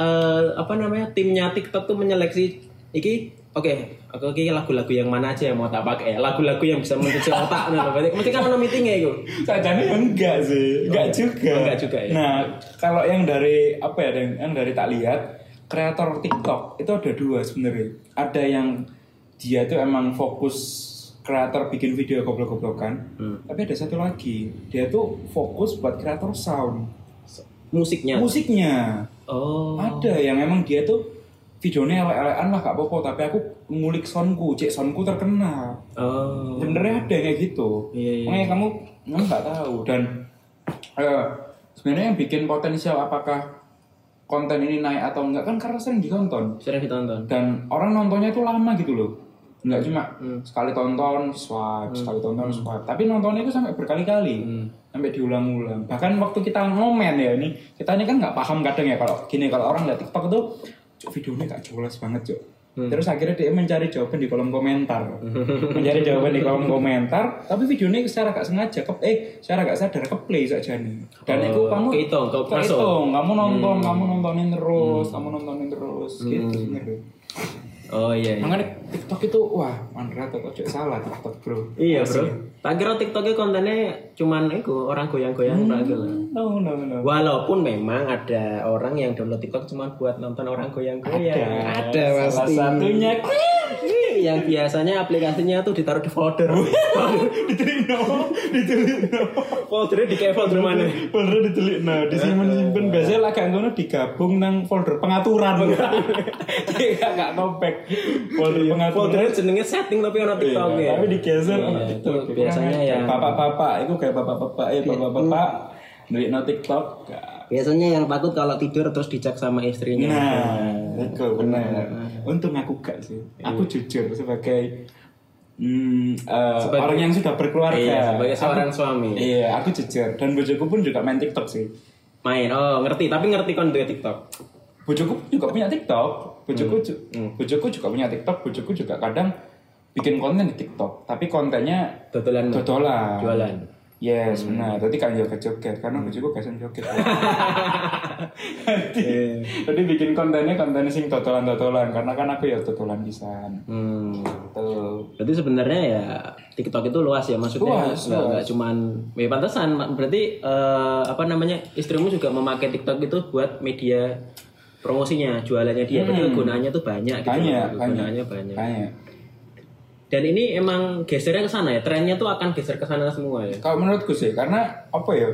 [SPEAKER 1] eh apa namanya timnya TikTok tuh menyeleksi iki oke aku iki lagu-lagu yang mana aja yang mau tak pakai lagu-lagu yang bisa mencuci otak nah berarti mesti kan ono meetingnya itu
[SPEAKER 2] Sajane ya enggak sih, enggak juga.
[SPEAKER 1] Oh, enggak juga ya.
[SPEAKER 2] Nah, kalau yang dari apa ya, yang, yang dari tak lihat kreator TikTok itu ada dua sebenarnya. Ada yang dia tuh emang fokus kreator bikin video goblok-goblokan,
[SPEAKER 1] Hmm.
[SPEAKER 2] tapi ada satu lagi dia tuh fokus buat kreator sound,
[SPEAKER 1] musiknya
[SPEAKER 2] musiknya.
[SPEAKER 1] Ya. oh
[SPEAKER 2] Ada yang emang dia tuh videonya elek-elekan lah gak apa-apa, tapi aku ngulik soundku, cek soundku terkenal
[SPEAKER 1] oh
[SPEAKER 2] sebenarnya Iya, ada yang kayak gitu
[SPEAKER 1] Iya, iya.
[SPEAKER 2] makanya kamu kamu nggak tahu dan eh, sebenarnya yang bikin potensial apakah konten ini naik atau enggak kan karena sering ditonton
[SPEAKER 1] sering ditonton
[SPEAKER 2] dan orang nontonnya itu lama gitu loh nggak cuma
[SPEAKER 1] Hmm.
[SPEAKER 2] sekali tonton swipe sekali tonton swipe tapi nontonnya itu sampai berkali-kali
[SPEAKER 1] Hmm.
[SPEAKER 2] sampai diulang-ulang bahkan waktu kita ngomen ya ini kita ini kan nggak paham kadang ya kalau gini kalau orang lihat TikTok itu "Cuk, videonya gak jelas banget cok
[SPEAKER 1] Hmm.
[SPEAKER 2] terus akhirnya dia mencari jawaban di kolom komentar mencari jawaban di kolom komentar tapi videonya secara gak sengaja ke eh secara gak sadar ke play saja nih dan
[SPEAKER 1] Oh,
[SPEAKER 2] itu kamu
[SPEAKER 1] kehitung, Hmm. ke- masuk.
[SPEAKER 2] kehitung. kamu nonton kamu nontonin terus kamu nontonin terus
[SPEAKER 1] Hmm.
[SPEAKER 2] gitu sebenarnya
[SPEAKER 1] oh iya, iya.
[SPEAKER 2] Makanya TikTok itu wah, mandra atau cek salah TikTok bro.
[SPEAKER 1] Iya bro, tak kira TikToknya kontennya cuman itu orang goyang-goyang hmm.
[SPEAKER 2] No no no.
[SPEAKER 1] Walaupun memang ada orang yang download TikTok cuma buat nonton orang goyang-goyang. Ada,
[SPEAKER 2] Salah satunya
[SPEAKER 1] yang biasanya aplikasinya tuh ditaruh di folder.
[SPEAKER 2] ditelitno, ditelitno.
[SPEAKER 1] Foldernya di kayak folder mana?
[SPEAKER 2] Folder ditelitno,
[SPEAKER 1] Eh,
[SPEAKER 2] disimpan simpen. Biasanya lah gak ngono digabung nang folder pengaturan.
[SPEAKER 1] Iya.
[SPEAKER 2] Gak gak nobek. Folder pengaturan.
[SPEAKER 1] Foldernya jenenge setting tapi orang TikTok ya.
[SPEAKER 2] Tapi digeser sama
[SPEAKER 1] Iya. Iya,
[SPEAKER 2] TikTok.
[SPEAKER 1] itu biasanya
[SPEAKER 2] Kayak
[SPEAKER 1] yang- Gitu.
[SPEAKER 2] bapak-bapak, itu kayak bapak-bapak, ya bapak-bapak. Nelitno TikTok.
[SPEAKER 1] Biasanya yang takut kalau tidur terus dijak sama istrinya.
[SPEAKER 2] Nah, itu benar. Untung aku gak sih.
[SPEAKER 1] Iya.
[SPEAKER 2] Aku jujur sebagai hmm, eh,
[SPEAKER 1] Sebagai-
[SPEAKER 2] orang yang sudah berkeluarga.
[SPEAKER 1] Iya, sebagai seorang suami.
[SPEAKER 2] Iya, aku jujur. Dan bojoku pun juga main TikTok sih.
[SPEAKER 1] Main, oh ngerti, tapi ngerti kan dia TikTok.
[SPEAKER 2] Bojoku pun juga punya TikTok. Bojoku,
[SPEAKER 1] Hmm.
[SPEAKER 2] ju- bojoku juga punya TikTok. Bojoku juga kadang bikin konten di TikTok. Tapi kontennya
[SPEAKER 1] Dodolan
[SPEAKER 2] dodolan.
[SPEAKER 1] jualan.
[SPEAKER 2] Yes, benar. Tadi kan joget-joget karena bojoku gak seneng joget. Iya. Jadi- Jadi bikin kontennya konten sing totolan-totolan karena kan aku ya totolan pisan.
[SPEAKER 1] Hmm.
[SPEAKER 2] Betul.
[SPEAKER 1] Berarti sebenarnya ya TikTok itu luas ya maksudnya
[SPEAKER 2] Luas,
[SPEAKER 1] nggak nggak cuman ya pantesan berarti eh, apa namanya istrimu juga memakai TikTok itu buat media promosinya jualannya dia berarti kegunaannya tuh banyak gitu
[SPEAKER 2] Hmm. Banyak,
[SPEAKER 1] loh,
[SPEAKER 2] banyak.
[SPEAKER 1] kegunaannya banyak.
[SPEAKER 2] Kayak
[SPEAKER 1] Dan ini emang gesernya ke sana ya trennya tuh akan geser ke sana semua ya.
[SPEAKER 2] kalau menurutku sih karena apa ya?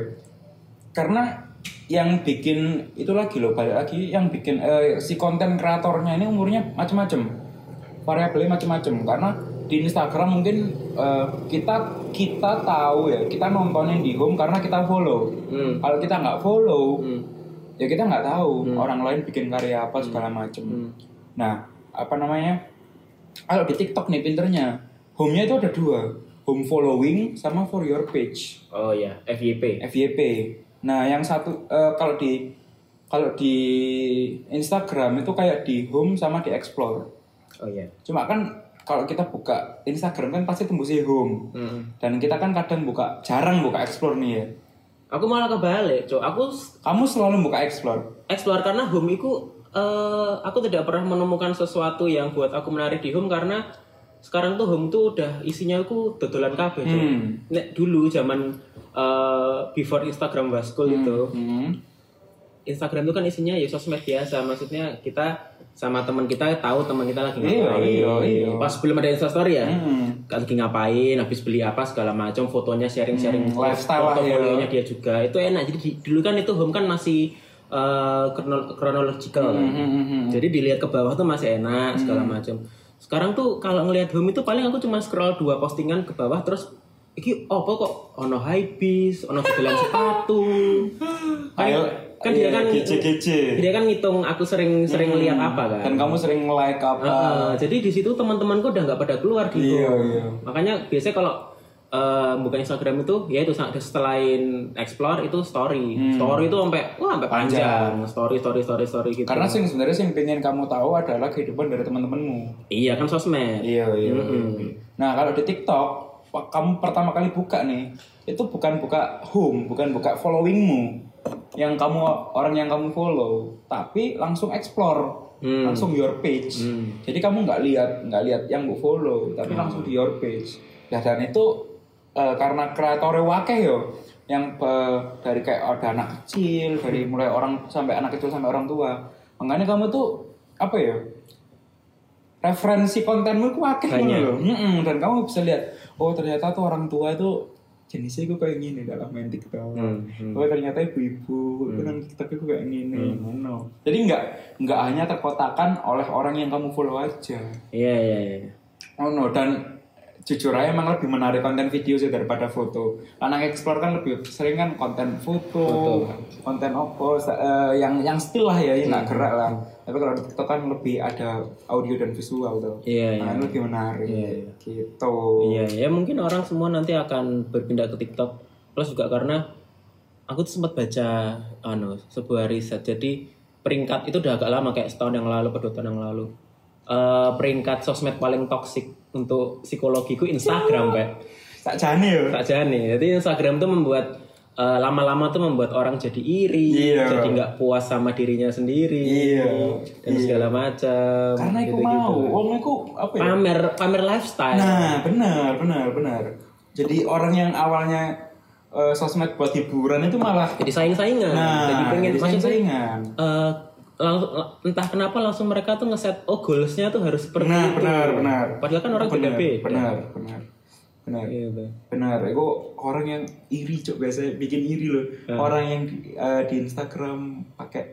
[SPEAKER 2] Karena yang bikin itu lagi loh balik lagi yang bikin eh, si konten kreatornya ini umurnya macem-macem variabelnya macem-macem karena di Instagram mungkin eh, kita kita tahu ya kita nontonin di home karena kita follow
[SPEAKER 1] Hmm.
[SPEAKER 2] kalau kita nggak follow
[SPEAKER 1] Hmm.
[SPEAKER 2] ya kita nggak tahu orang lain bikin karya apa segala macem nah apa namanya kalau di TikTok nih pinternya home-nya itu ada dua home following sama for your page
[SPEAKER 1] Oh ya FYP.
[SPEAKER 2] FYP nah yang satu eh, kalau di kalau di Instagram itu kayak di home sama di explore
[SPEAKER 1] Oh ya.
[SPEAKER 2] cuma kan kalau kita buka Instagram kan pasti tembusnya home
[SPEAKER 1] Hmm.
[SPEAKER 2] dan kita kan kadang buka jarang buka explore nih ya
[SPEAKER 1] Aku malah kebalik, Cok. Aku s-
[SPEAKER 2] kamu selalu buka explore
[SPEAKER 1] explore karena home itu eh, aku tidak pernah menemukan sesuatu yang buat aku menarik di home karena sekarang tuh home tuh udah isinya aku dodolan kabeh. Cuk.
[SPEAKER 2] Hmm.
[SPEAKER 1] Nek dulu zaman eh, before Instagram waskul itu,
[SPEAKER 2] Hmm.
[SPEAKER 1] Instagram itu kan isinya ya sosmed biasa, maksudnya kita sama teman kita tahu teman kita lagi
[SPEAKER 2] Iya,
[SPEAKER 1] ngapain.
[SPEAKER 2] iya, iya.
[SPEAKER 1] Pas belum ada Instastory ya,
[SPEAKER 2] Hmm.
[SPEAKER 1] lagi ngapain, habis beli apa segala macam, fotonya sharing-sharing
[SPEAKER 2] Hmm, lifestyle lah ya.
[SPEAKER 1] portofolionya dia juga. Itu enak. Jadi di- dulu kan itu home kan masih eh, krono- chronological.
[SPEAKER 2] Hmm,
[SPEAKER 1] kan. Jadi dilihat ke bawah tuh masih enak segala macam. Sekarang tuh kalau ngelihat home itu paling aku cuma scroll dua postingan ke bawah terus iki opo kok ono high beast, ono sebelah sepatu. Kan,
[SPEAKER 2] Ayo,
[SPEAKER 1] kan dia
[SPEAKER 2] iya, Hmm.
[SPEAKER 1] kan
[SPEAKER 2] kece-kece.
[SPEAKER 1] dia kan ngitung aku sering-sering lihat apa kan.
[SPEAKER 2] dan kamu sering like apa
[SPEAKER 1] Eh, Heeh, jadi di situ teman-temanku udah nggak pada keluar gitu.
[SPEAKER 2] Iya, iya.
[SPEAKER 1] Makanya biasanya kalau eh, bukan Instagram itu ya itu sa- selain explore itu story
[SPEAKER 2] Hmm.
[SPEAKER 1] story itu sampai wah sampai panjang. story story story story gitu
[SPEAKER 2] Karena sing sebenarnya sing pengen kamu tahu adalah kehidupan dari teman-temanmu.
[SPEAKER 1] iya kan sosmed
[SPEAKER 2] Iya, iya. Nah, kalau di TikTok, wah, kamu pertama kali buka nih, itu bukan buka home, bukan buka followingmu. Yang kamu orang yang kamu follow, tapi langsung explore,
[SPEAKER 1] Hmm.
[SPEAKER 2] langsung your page.
[SPEAKER 1] Hmm.
[SPEAKER 2] Jadi kamu nggak lihat, nggak lihat yang bu follow, tapi langsung di your page. Nah, dan itu eh, karena kreatornya wakeh yo yang eh, dari kayak ada anak kecil, dari mulai orang sampai anak kecil sampai orang tua. Makanya kamu tuh apa ya? referensi kontenmu ku akeh
[SPEAKER 1] Banyak.
[SPEAKER 2] ngono lho. Mm-mm, dan kamu bisa lihat, oh ternyata tuh orang tua itu jenisnya gue kayak gini dalam main TikTok. Oh ternyata ibu-ibu itu nang TikTok gue kayak gini. ngono. Jadi nggak nggak hanya terkotakan oleh orang yang kamu follow aja.
[SPEAKER 1] iya iya iya
[SPEAKER 2] Oh no dan jujur aja emang lebih menarik konten video sih daripada foto. Karena explore kan lebih sering kan konten foto, konten opo sa- eh, yang yang still lah ya, yang nggak gerak lah. Tapi kalau di TikTok kan lebih ada audio dan visual tuh.
[SPEAKER 1] Iya,
[SPEAKER 2] Nah, itu lebih menarik. Gitu.
[SPEAKER 1] Iya, ya mungkin orang semua nanti akan berpindah ke TikTok. Plus juga karena aku tuh sempat baca anu sebuah riset. Jadi peringkat itu udah agak lama kayak setahun yang lalu, atau dua tahun yang lalu. Eh, peringkat sosmed paling toksik untuk psikologiku Instagram, Pak.
[SPEAKER 2] Sakjane yo.
[SPEAKER 1] Tak jane. Jadi Instagram tuh membuat eh, lama-lama tuh membuat orang jadi iri,
[SPEAKER 2] Iya.
[SPEAKER 1] jadi nggak puas sama dirinya sendiri,
[SPEAKER 2] Iya.
[SPEAKER 1] dan segala macam.
[SPEAKER 2] Karena aku mau, wong aku apa ya?
[SPEAKER 1] Pamer, pamer lifestyle.
[SPEAKER 2] Nah, benar, benar, benar. Jadi orang yang awalnya eh, sosmed buat hiburan itu malah
[SPEAKER 1] jadi saing-saingan jadi
[SPEAKER 2] nah,
[SPEAKER 1] pengen
[SPEAKER 2] jadi
[SPEAKER 1] maksudnya
[SPEAKER 2] saingan.
[SPEAKER 1] eh, lang- la- entah kenapa langsung mereka tuh ngeset oh goalsnya tuh harus seperti
[SPEAKER 2] benar
[SPEAKER 1] itu
[SPEAKER 2] benar benar
[SPEAKER 1] padahal kan orang
[SPEAKER 2] benar
[SPEAKER 1] beda-beda.
[SPEAKER 2] benar benar benar
[SPEAKER 1] Gitu.
[SPEAKER 2] benar Aku orang yang iri cok biasanya bikin iri loh orang yang di- eh, di Instagram pakai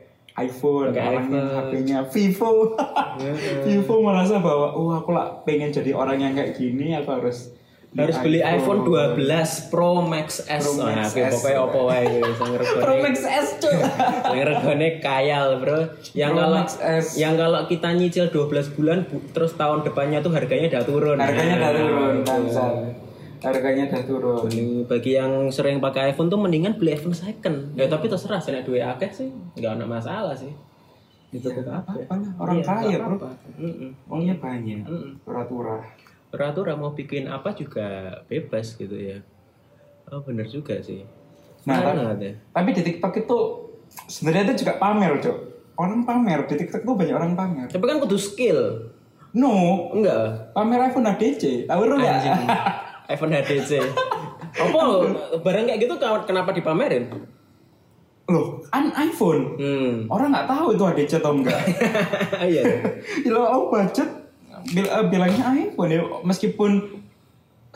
[SPEAKER 2] iPhone Ah.
[SPEAKER 1] Pakai
[SPEAKER 2] orang yang HP-nya Vivo Vivo merasa bahwa oh aku lah pengen jadi orang yang kayak gini aku harus
[SPEAKER 1] harus beli iPhone 12 Pro Max S
[SPEAKER 2] Pro Max
[SPEAKER 1] Nah,
[SPEAKER 2] S.
[SPEAKER 1] pokoknya opo wae gitu sang
[SPEAKER 2] Pro
[SPEAKER 1] regone
[SPEAKER 2] Max S cok
[SPEAKER 1] sang regone kayal bro yang
[SPEAKER 2] Pro
[SPEAKER 1] kalau
[SPEAKER 2] Max S.
[SPEAKER 1] yang kalau kita nyicil 12 bulan bu- terus tahun depannya tuh harganya udah turun Nah,
[SPEAKER 2] harganya udah turun bangsat. harganya udah turun
[SPEAKER 1] mending bagi yang sering pakai iPhone tuh mendingan beli iPhone second ya tapi terserah sih nek duwe akeh sih nggak ada masalah sih itu apa
[SPEAKER 2] apa lah orang kaya bro
[SPEAKER 1] Mm-mm.
[SPEAKER 2] uangnya banyak turah-turah
[SPEAKER 1] peraturan mau bikin apa juga bebas gitu ya oh bener juga sih
[SPEAKER 2] Nah,
[SPEAKER 1] Keren banget ya.
[SPEAKER 2] Tapi di TikTok itu sebenarnya itu juga pamer, Cok. Orang pamer di TikTok tuh banyak orang pamer.
[SPEAKER 1] tapi kan kudu skill
[SPEAKER 2] No,
[SPEAKER 1] enggak
[SPEAKER 2] pamer iPhone HDC. Tahu lu nggak?
[SPEAKER 1] iPhone HDC apa barang kayak gitu kawan- kenapa dipamerin
[SPEAKER 2] Loh, an iPhone.
[SPEAKER 1] hmm
[SPEAKER 2] Orang nggak tahu itu HDC atau enggak.
[SPEAKER 1] iya
[SPEAKER 2] Gila, oh budget bil- eh, bilangnya iPhone ya meskipun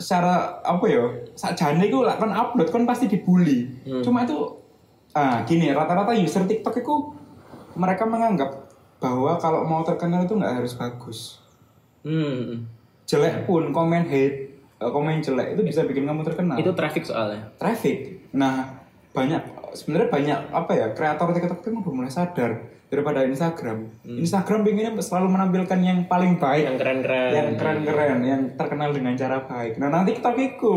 [SPEAKER 2] secara apa ya sakjane iku lak kon upload kon pasti dibully. Cuma itu ah gini rata-rata user TikTok itu mereka menganggap bahwa kalau mau terkenal itu nggak harus bagus.
[SPEAKER 1] hmm
[SPEAKER 2] jelek pun komen hate eh, komen jelek itu bisa bikin kamu terkenal
[SPEAKER 1] itu traffic soalnya
[SPEAKER 2] traffic nah banyak sebenarnya banyak apa ya kreator TikTok itu udah mulai sadar daripada Instagram Instagram pinginnya selalu menampilkan yang paling baik
[SPEAKER 1] Hmm. yang keren-keren
[SPEAKER 2] yang keren-keren yang terkenal dengan cara baik nah nanti TikTok itu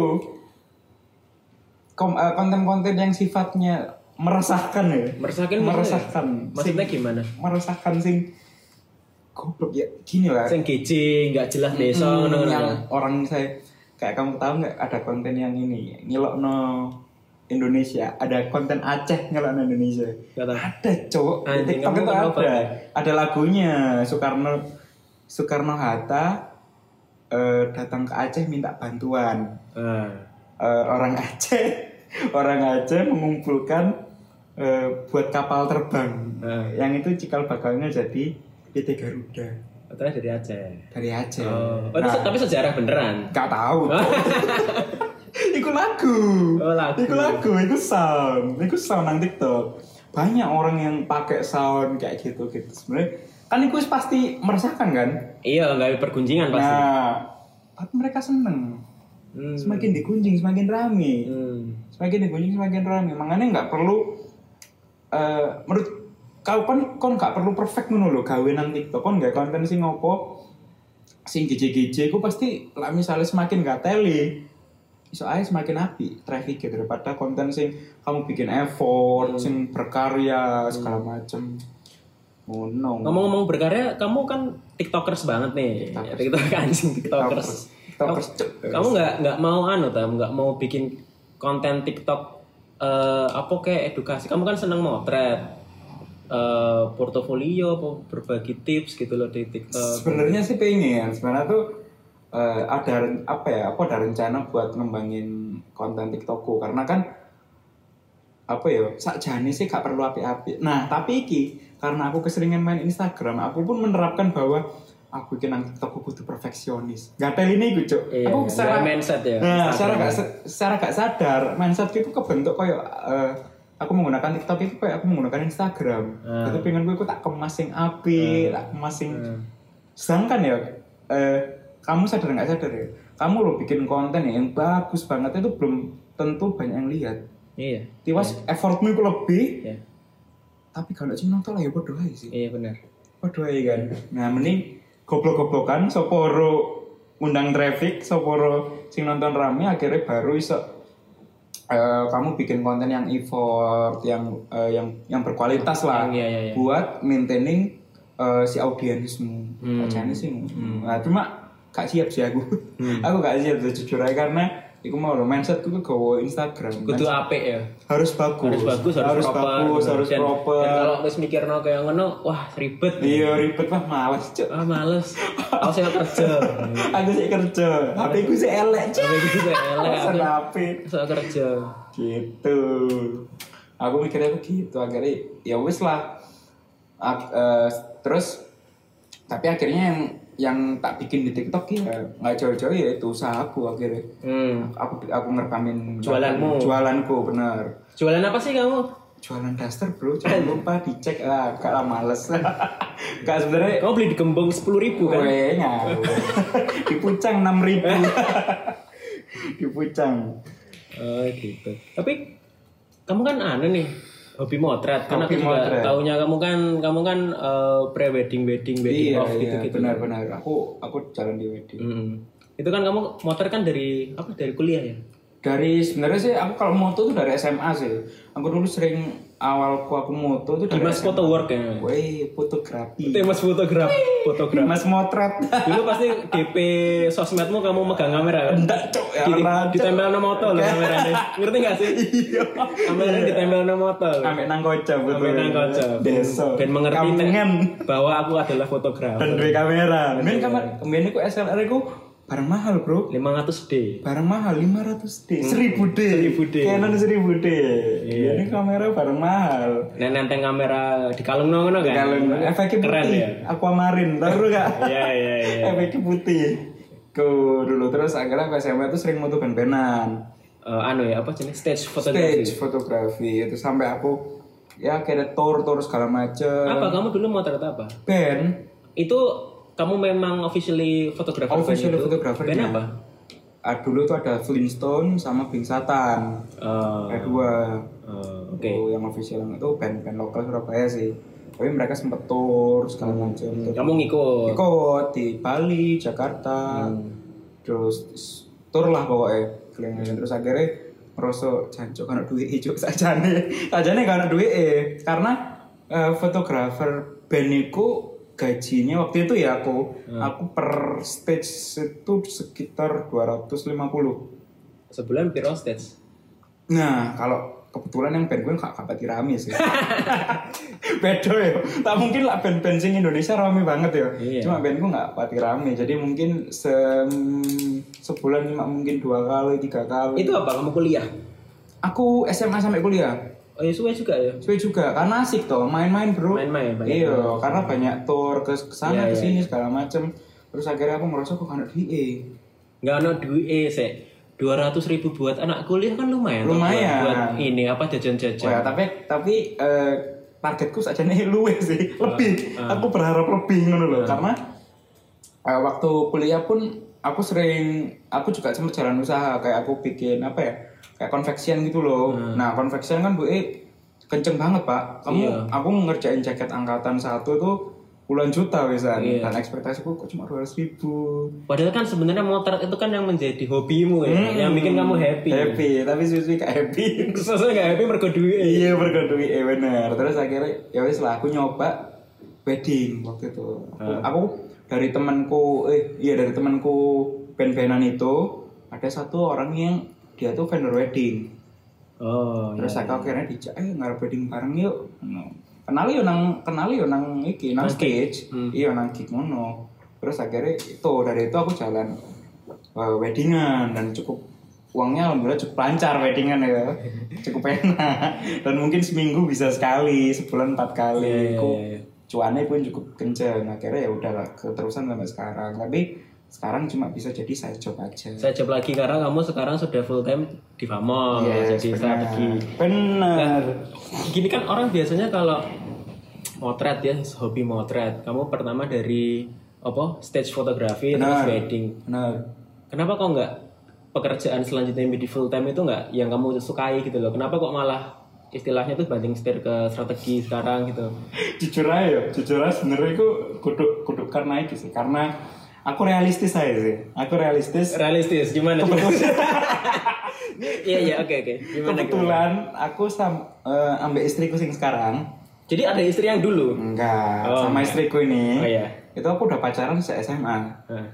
[SPEAKER 2] kom- eh, konten-konten yang sifatnya meresahkan ya
[SPEAKER 1] meresahkan gitu
[SPEAKER 2] meresahkan Sing-
[SPEAKER 1] maksudnya gimana
[SPEAKER 2] meresahkan sing goblok ya gini lah
[SPEAKER 1] sing gijing nggak jelas desa
[SPEAKER 2] Hmm,
[SPEAKER 1] ngono
[SPEAKER 2] yang orang saya kayak kamu tahu nggak ada konten yang ini ngilokno Indonesia ada konten Aceh ngilokno Indonesia
[SPEAKER 1] Nggak tahu.
[SPEAKER 2] ada cowok di
[SPEAKER 1] Anjing,
[SPEAKER 2] TikTok
[SPEAKER 1] kamu
[SPEAKER 2] itu
[SPEAKER 1] kenapa?
[SPEAKER 2] ada ada lagunya Soekarno Soekarno Hatta eh, datang ke Aceh minta bantuan
[SPEAKER 1] Ah.
[SPEAKER 2] Eh, orang Aceh orang Aceh mengumpulkan eh, buat kapal terbang
[SPEAKER 1] Hmm.
[SPEAKER 2] yang itu cikal bakalnya jadi PT Garuda
[SPEAKER 1] katanya dari Aceh
[SPEAKER 2] dari Aceh
[SPEAKER 1] oh, itu
[SPEAKER 2] Nah,
[SPEAKER 1] se- tapi sejarah beneran
[SPEAKER 2] Gak tahu. iku lagu.
[SPEAKER 1] Oh, lagu.
[SPEAKER 2] Iku lagu, iku sound. Iku sound nang TikTok. Banyak orang yang pakai sound kayak gitu gitu. Sebenarnya kan iku wis pasti meresahkan kan?
[SPEAKER 1] iya nggak ada pergunjingan pasti
[SPEAKER 2] Nah, tapi mereka seneng.
[SPEAKER 1] Hmm.
[SPEAKER 2] Semakin dikunjing semakin rame.
[SPEAKER 1] Hmm.
[SPEAKER 2] Semakin dikunjing semakin rame. Makanya nggak perlu eh menurut kau kan kon nggak perlu perfect ngono lho gawe nang TikTok. Kon nggak konten sing ngopo sing gece-gece ku pasti lah misalnya semakin gak teli soalnya semakin api traffic ya, daripada konten sing kamu bikin effort sing berkarya segala macem oh no
[SPEAKER 1] Ngomong-ngomong berkarya, kamu kan tiktokers banget nih. Tiktokers. anjing tiktokers.
[SPEAKER 2] Tiktokers.
[SPEAKER 1] Kamu- Kamu nggak nggak mau anu tam, nggak mau bikin konten tiktok eh, apa kayak edukasi. Kamu kan seneng motret, eh, portofolio, apa, berbagi tips gitu loh di tiktok.
[SPEAKER 2] sebenarnya sih pengen sebenarnya tuh eh, ada ren- apa ya aku ada rencana buat ngembangin konten tiktokku karena kan apa ya sakjane sih gak perlu api-api nah tapi iki karena aku keseringan main Instagram aku pun menerapkan bahwa aku bikin nang tiktokku kudu perfeksionis gak ada ini gue cok
[SPEAKER 1] Iya,
[SPEAKER 2] aku
[SPEAKER 1] nggak
[SPEAKER 2] secara
[SPEAKER 1] mindset ya.
[SPEAKER 2] nah, secara
[SPEAKER 1] Instagram.
[SPEAKER 2] gak se- secara gak sadar mindset itu kebentuk kayak eh, aku menggunakan tiktok itu kayak aku menggunakan Instagram
[SPEAKER 1] Hmm.
[SPEAKER 2] tapi pengen gue tak kemas yang api tak kemas yang sedangkan ya eh, kamu sadar nggak sadar ya kamu lo bikin konten ya yang bagus banget itu belum tentu banyak yang lihat
[SPEAKER 1] Iya,
[SPEAKER 2] tiwas effortmu itu lebih
[SPEAKER 1] iya,
[SPEAKER 2] tapi kalau sih nonton lah ya bodoh aja sih
[SPEAKER 1] iya benar.
[SPEAKER 2] bodoh aja kan nah mending goblok-goblokan soporo undang traffic soporo sing nonton rame akhirnya baru iso eh, kamu bikin konten yang effort yang eh, yang yang berkualitas lah
[SPEAKER 1] Iya, iya, iya.
[SPEAKER 2] buat maintaining eh, si audiensmu
[SPEAKER 1] Hmm.
[SPEAKER 2] Kacanya sih nah, cuma gak siap sih aku
[SPEAKER 1] Hmm.
[SPEAKER 2] aku gak siap jujur aja karena Iku mau lo mindset tuh gawa Instagram
[SPEAKER 1] Kudu apik ya.
[SPEAKER 2] harus bagus
[SPEAKER 1] Harus bagus, harus, proper.
[SPEAKER 2] bagus, harus
[SPEAKER 1] dan,
[SPEAKER 2] proper.
[SPEAKER 1] Dan kalau wis mikirno kayak ngono, wah ribet.
[SPEAKER 2] iya ribet lah males cok
[SPEAKER 1] Ah males. Aku sih kerja.
[SPEAKER 2] aku sih kerja HP ku sih elek cok
[SPEAKER 1] Tapi gitu kayak elek.
[SPEAKER 2] Alasan HP
[SPEAKER 1] Soal kerja.
[SPEAKER 2] gitu aku mikirnya begitu akhirnya ya wis lah Ak- eh, terus tapi akhirnya yang yang tak bikin di TikTok ya nggak jauh-jauh ya itu usahaku akhirnya
[SPEAKER 1] Hmm.
[SPEAKER 2] aku aku ngerekamin
[SPEAKER 1] Jualanmu.
[SPEAKER 2] jualanku bener
[SPEAKER 1] Jualan apa sih kamu?
[SPEAKER 2] jualan daster bro jangan lupa dicek lah gak lah males gak
[SPEAKER 1] Eh,
[SPEAKER 2] sebenarnya
[SPEAKER 1] Kamu beli di Gembong sepuluh ribu kan?
[SPEAKER 2] Weh, nyaru. di pucang enam ribu di pucang
[SPEAKER 1] Oh gitu. Tapi kamu kan aneh nih hobi motret karena
[SPEAKER 2] Hobi
[SPEAKER 1] aku juga
[SPEAKER 2] motret.
[SPEAKER 1] taunya kamu kan kamu kan pre wedding wedding wedding
[SPEAKER 2] iya,
[SPEAKER 1] off gitu
[SPEAKER 2] iya
[SPEAKER 1] gitu
[SPEAKER 2] benar-benar aku aku jalan di wedding
[SPEAKER 1] itu kan kamu motret kan dari apa dari kuliah ya
[SPEAKER 2] dari sebenarnya sih aku kalau moto tuh dari SMA sih aku dulu sering awalku aku moto tuh dari
[SPEAKER 1] Dimas foto work ya
[SPEAKER 2] Weh, fotografi
[SPEAKER 1] Dimas fotograf fotograf
[SPEAKER 2] Mas motret
[SPEAKER 1] dulu pasti DP sosmedmu kamu megang kamera kan
[SPEAKER 2] enggak cok ya
[SPEAKER 1] Di-
[SPEAKER 2] Allah, Cok.
[SPEAKER 1] ditempel nama moto loh kameranya ngerti gak sih
[SPEAKER 2] iya
[SPEAKER 1] kameranya ditempel nama moto loh
[SPEAKER 2] ambek nang kocok betul
[SPEAKER 1] Sampai nang kocok.
[SPEAKER 2] desa
[SPEAKER 1] dan mengerti
[SPEAKER 2] kampungan
[SPEAKER 1] nek, bahwa aku adalah fotografer
[SPEAKER 2] dan duwe kamera Iya. men kamar men aku SLR aku barang mahal bro
[SPEAKER 1] 500 D
[SPEAKER 2] barang mahal 500 d 1000 d
[SPEAKER 1] 1000D.
[SPEAKER 2] Canon 1000 d
[SPEAKER 1] Iya.
[SPEAKER 2] ini kamera barang mahal
[SPEAKER 1] nah nenteng kamera di kalung ngono kan
[SPEAKER 2] kalau efeknya
[SPEAKER 1] keren
[SPEAKER 2] putih
[SPEAKER 1] ya
[SPEAKER 2] aquamarin tahu gak
[SPEAKER 1] iya iya iya
[SPEAKER 2] efeknya putih ke dulu terus akhirnya aku SMA tuh sering moto ben-benan
[SPEAKER 1] Eh, anu ya apa jenis stage fotografi
[SPEAKER 2] stage fotografi itu sampai aku ya kayak tour tour segala macem
[SPEAKER 1] apa kamu dulu motret apa
[SPEAKER 2] band
[SPEAKER 1] itu kamu memang officially fotografer
[SPEAKER 2] official
[SPEAKER 1] band itu?
[SPEAKER 2] fotografer
[SPEAKER 1] band gitu? apa
[SPEAKER 2] Ah, dulu tuh ada Flintstone sama Bing Satan
[SPEAKER 1] Eh,
[SPEAKER 2] ada dua
[SPEAKER 1] eh, oke
[SPEAKER 2] Tuh, yang official itu band-band lokal Surabaya sih tapi mereka sempet tour segala macam Terus
[SPEAKER 1] kamu ngikut
[SPEAKER 2] ikut di Bali Jakarta terus s- tour lah pokoknya keliling terus akhirnya merosok jancok kan duit ijo sajane sajane kan duit karena eh, fotografer band iku gajinya waktu itu ya aku aku per stage itu sekitar 250
[SPEAKER 1] sebulan piro stage
[SPEAKER 2] Nah, kalau kebetulan yang band gue gak kabar rame sih. Bedo ya. Tak mungkin lah band-band sing Indonesia rame banget ya.
[SPEAKER 1] Iya.
[SPEAKER 2] Cuma band gue gak pati rame. Jadi mungkin se sebulan cuma mungkin dua kali, tiga kali.
[SPEAKER 1] itu apa kamu kuliah
[SPEAKER 2] Aku SMA sampai kuliah.
[SPEAKER 1] oh ya suwe juga ya
[SPEAKER 2] Gue juga karena asik toh, main-main bro.
[SPEAKER 1] main-main banyak
[SPEAKER 2] Iya, karena banyak tour ke sana
[SPEAKER 1] Iya,
[SPEAKER 2] ke
[SPEAKER 1] iya,
[SPEAKER 2] sini segala macem. Terus akhirnya aku merasa kok anak DE.
[SPEAKER 1] nggak ada duit eh sek dua ribu buat anak kuliah kan lumayan toh,
[SPEAKER 2] Lumayan.
[SPEAKER 1] buat, buat ini apa jajan-jajan
[SPEAKER 2] Wah, Iya, tapi tapi eh, targetku saja nih luwe sih, lebih.
[SPEAKER 1] Ah,
[SPEAKER 2] Aku berharap lebih ngono loh, karena eh, waktu kuliah pun aku sering aku juga sempat jalan usaha kayak aku bikin apa ya? Kayak konveksian gitu loh.
[SPEAKER 1] Ah.
[SPEAKER 2] Nah,
[SPEAKER 1] Iya.
[SPEAKER 2] konveksian kan Bu eh, kenceng banget, Pak. Kamu aku ngerjain jaket angkatan satu tuh puluhan juta wisan
[SPEAKER 1] Iya.
[SPEAKER 2] dan ekspektasiku kok cuma dua ratus ribu
[SPEAKER 1] Padahal kan sebenarnya motret itu kan yang menjadi hobimu ya,
[SPEAKER 2] Hmm.
[SPEAKER 1] yang bikin kamu happy. ya?
[SPEAKER 2] happy tapi susu gak happy
[SPEAKER 1] Sosok gak happy mergo duit.
[SPEAKER 2] iya bergandungi eh bener terus akhirnya ya wis lah aku nyoba wedding waktu itu aku, aku dari temanku eh iya dari temanku band-bandan itu ada satu orang yang dia tuh vendor wedding
[SPEAKER 1] Oh,
[SPEAKER 2] terus aku akhirnya dijak eh ngarep wedding bareng yuk No. kenali yo nang kenali yo nang iki nang stage iya nang gig ngono terus akhirnya itu dari itu aku jalan eh, weddingan dan cukup uangnya alhamdulillah cukup lancar weddingan ya cukup enak dan mungkin seminggu bisa sekali sebulan empat kali Ku- cuannya pun cukup kenceng akhirnya ya udahlah keterusan sampai sekarang tapi sekarang cuma bisa jadi saya coba aja
[SPEAKER 1] Saya jawab lagi karena kamu sekarang sudah full time di Famol.
[SPEAKER 2] Yes,
[SPEAKER 1] jadi
[SPEAKER 2] benar.
[SPEAKER 1] strategi.
[SPEAKER 2] Nah, benar
[SPEAKER 1] Gini kan orang biasanya kalau motret ya, hobi motret. Kamu pertama dari apa? Stage fotografi terus
[SPEAKER 2] Benar.
[SPEAKER 1] wedding.
[SPEAKER 2] benar
[SPEAKER 1] Kenapa kok nggak pekerjaan selanjutnya yang di full time itu nggak yang kamu sukai gitu loh? Kenapa kok malah istilahnya tuh banding setir ke strategi sekarang gitu?
[SPEAKER 2] jujur aja ya, jujur aja sebenarnya aku kudu kudu karena itu sih karena aku realistis aja sih aku realistis
[SPEAKER 1] Realistis gimana? Iya iya oke oke. Gimana?
[SPEAKER 2] kebetulan aku sama ambek istriku sing sekarang
[SPEAKER 1] Jadi ada istri yang dulu.
[SPEAKER 2] enggak
[SPEAKER 1] Oh,
[SPEAKER 2] sama istriku ini
[SPEAKER 1] Oh iya.
[SPEAKER 2] itu aku udah pacaran sejak SMA
[SPEAKER 1] Hah.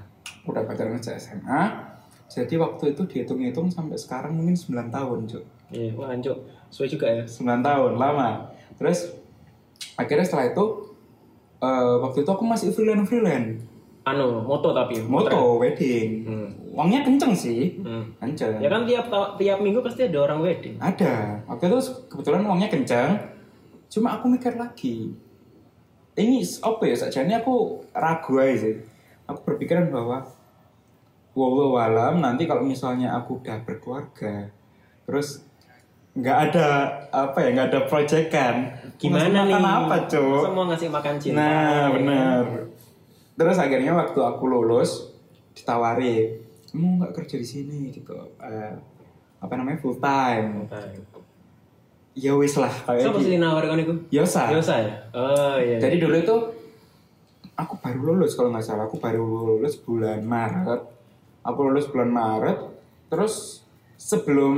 [SPEAKER 2] udah pacaran sejak SMA jadi waktu itu dihitung-hitung sampai sekarang mungkin 9 tahun cuy
[SPEAKER 1] Iya, wah anjuk. Sesuai juga ya.
[SPEAKER 2] 9 tahun lama terus akhirnya setelah itu eh, waktu itu aku masih freelance freelance
[SPEAKER 1] Anu, moto tapi.
[SPEAKER 2] moto wedding
[SPEAKER 1] Hmm.
[SPEAKER 2] uangnya kenceng sih
[SPEAKER 1] Hmm.
[SPEAKER 2] kenceng
[SPEAKER 1] Ya kan tiap ta- tiap minggu pasti ada orang wedding.
[SPEAKER 2] ada waktu itu kebetulan uangnya kenceng cuma aku mikir lagi ini s- apa ya sajane aku ragu aja sih aku berpikiran bahwa walau alam nanti kalau misalnya aku udah berkeluarga terus nggak ada apa ya nggak ada proyekan
[SPEAKER 1] Gimana nih?
[SPEAKER 2] apa cuk
[SPEAKER 1] Masa mau ngasih makan cinta.
[SPEAKER 2] Nah, benar. Terus akhirnya waktu aku lulus ditawari, kamu nggak kerja di sini gitu, eh, apa namanya full time. Ya wis lah,
[SPEAKER 1] So
[SPEAKER 2] kayak
[SPEAKER 1] pasti nawarin itu.
[SPEAKER 2] Yosa.
[SPEAKER 1] Yosa ya? Oh iya.
[SPEAKER 2] Jadi dulu itu aku baru lulus kalau nggak salah, aku baru lulus bulan Maret. Aku lulus bulan Maret. Terus sebelum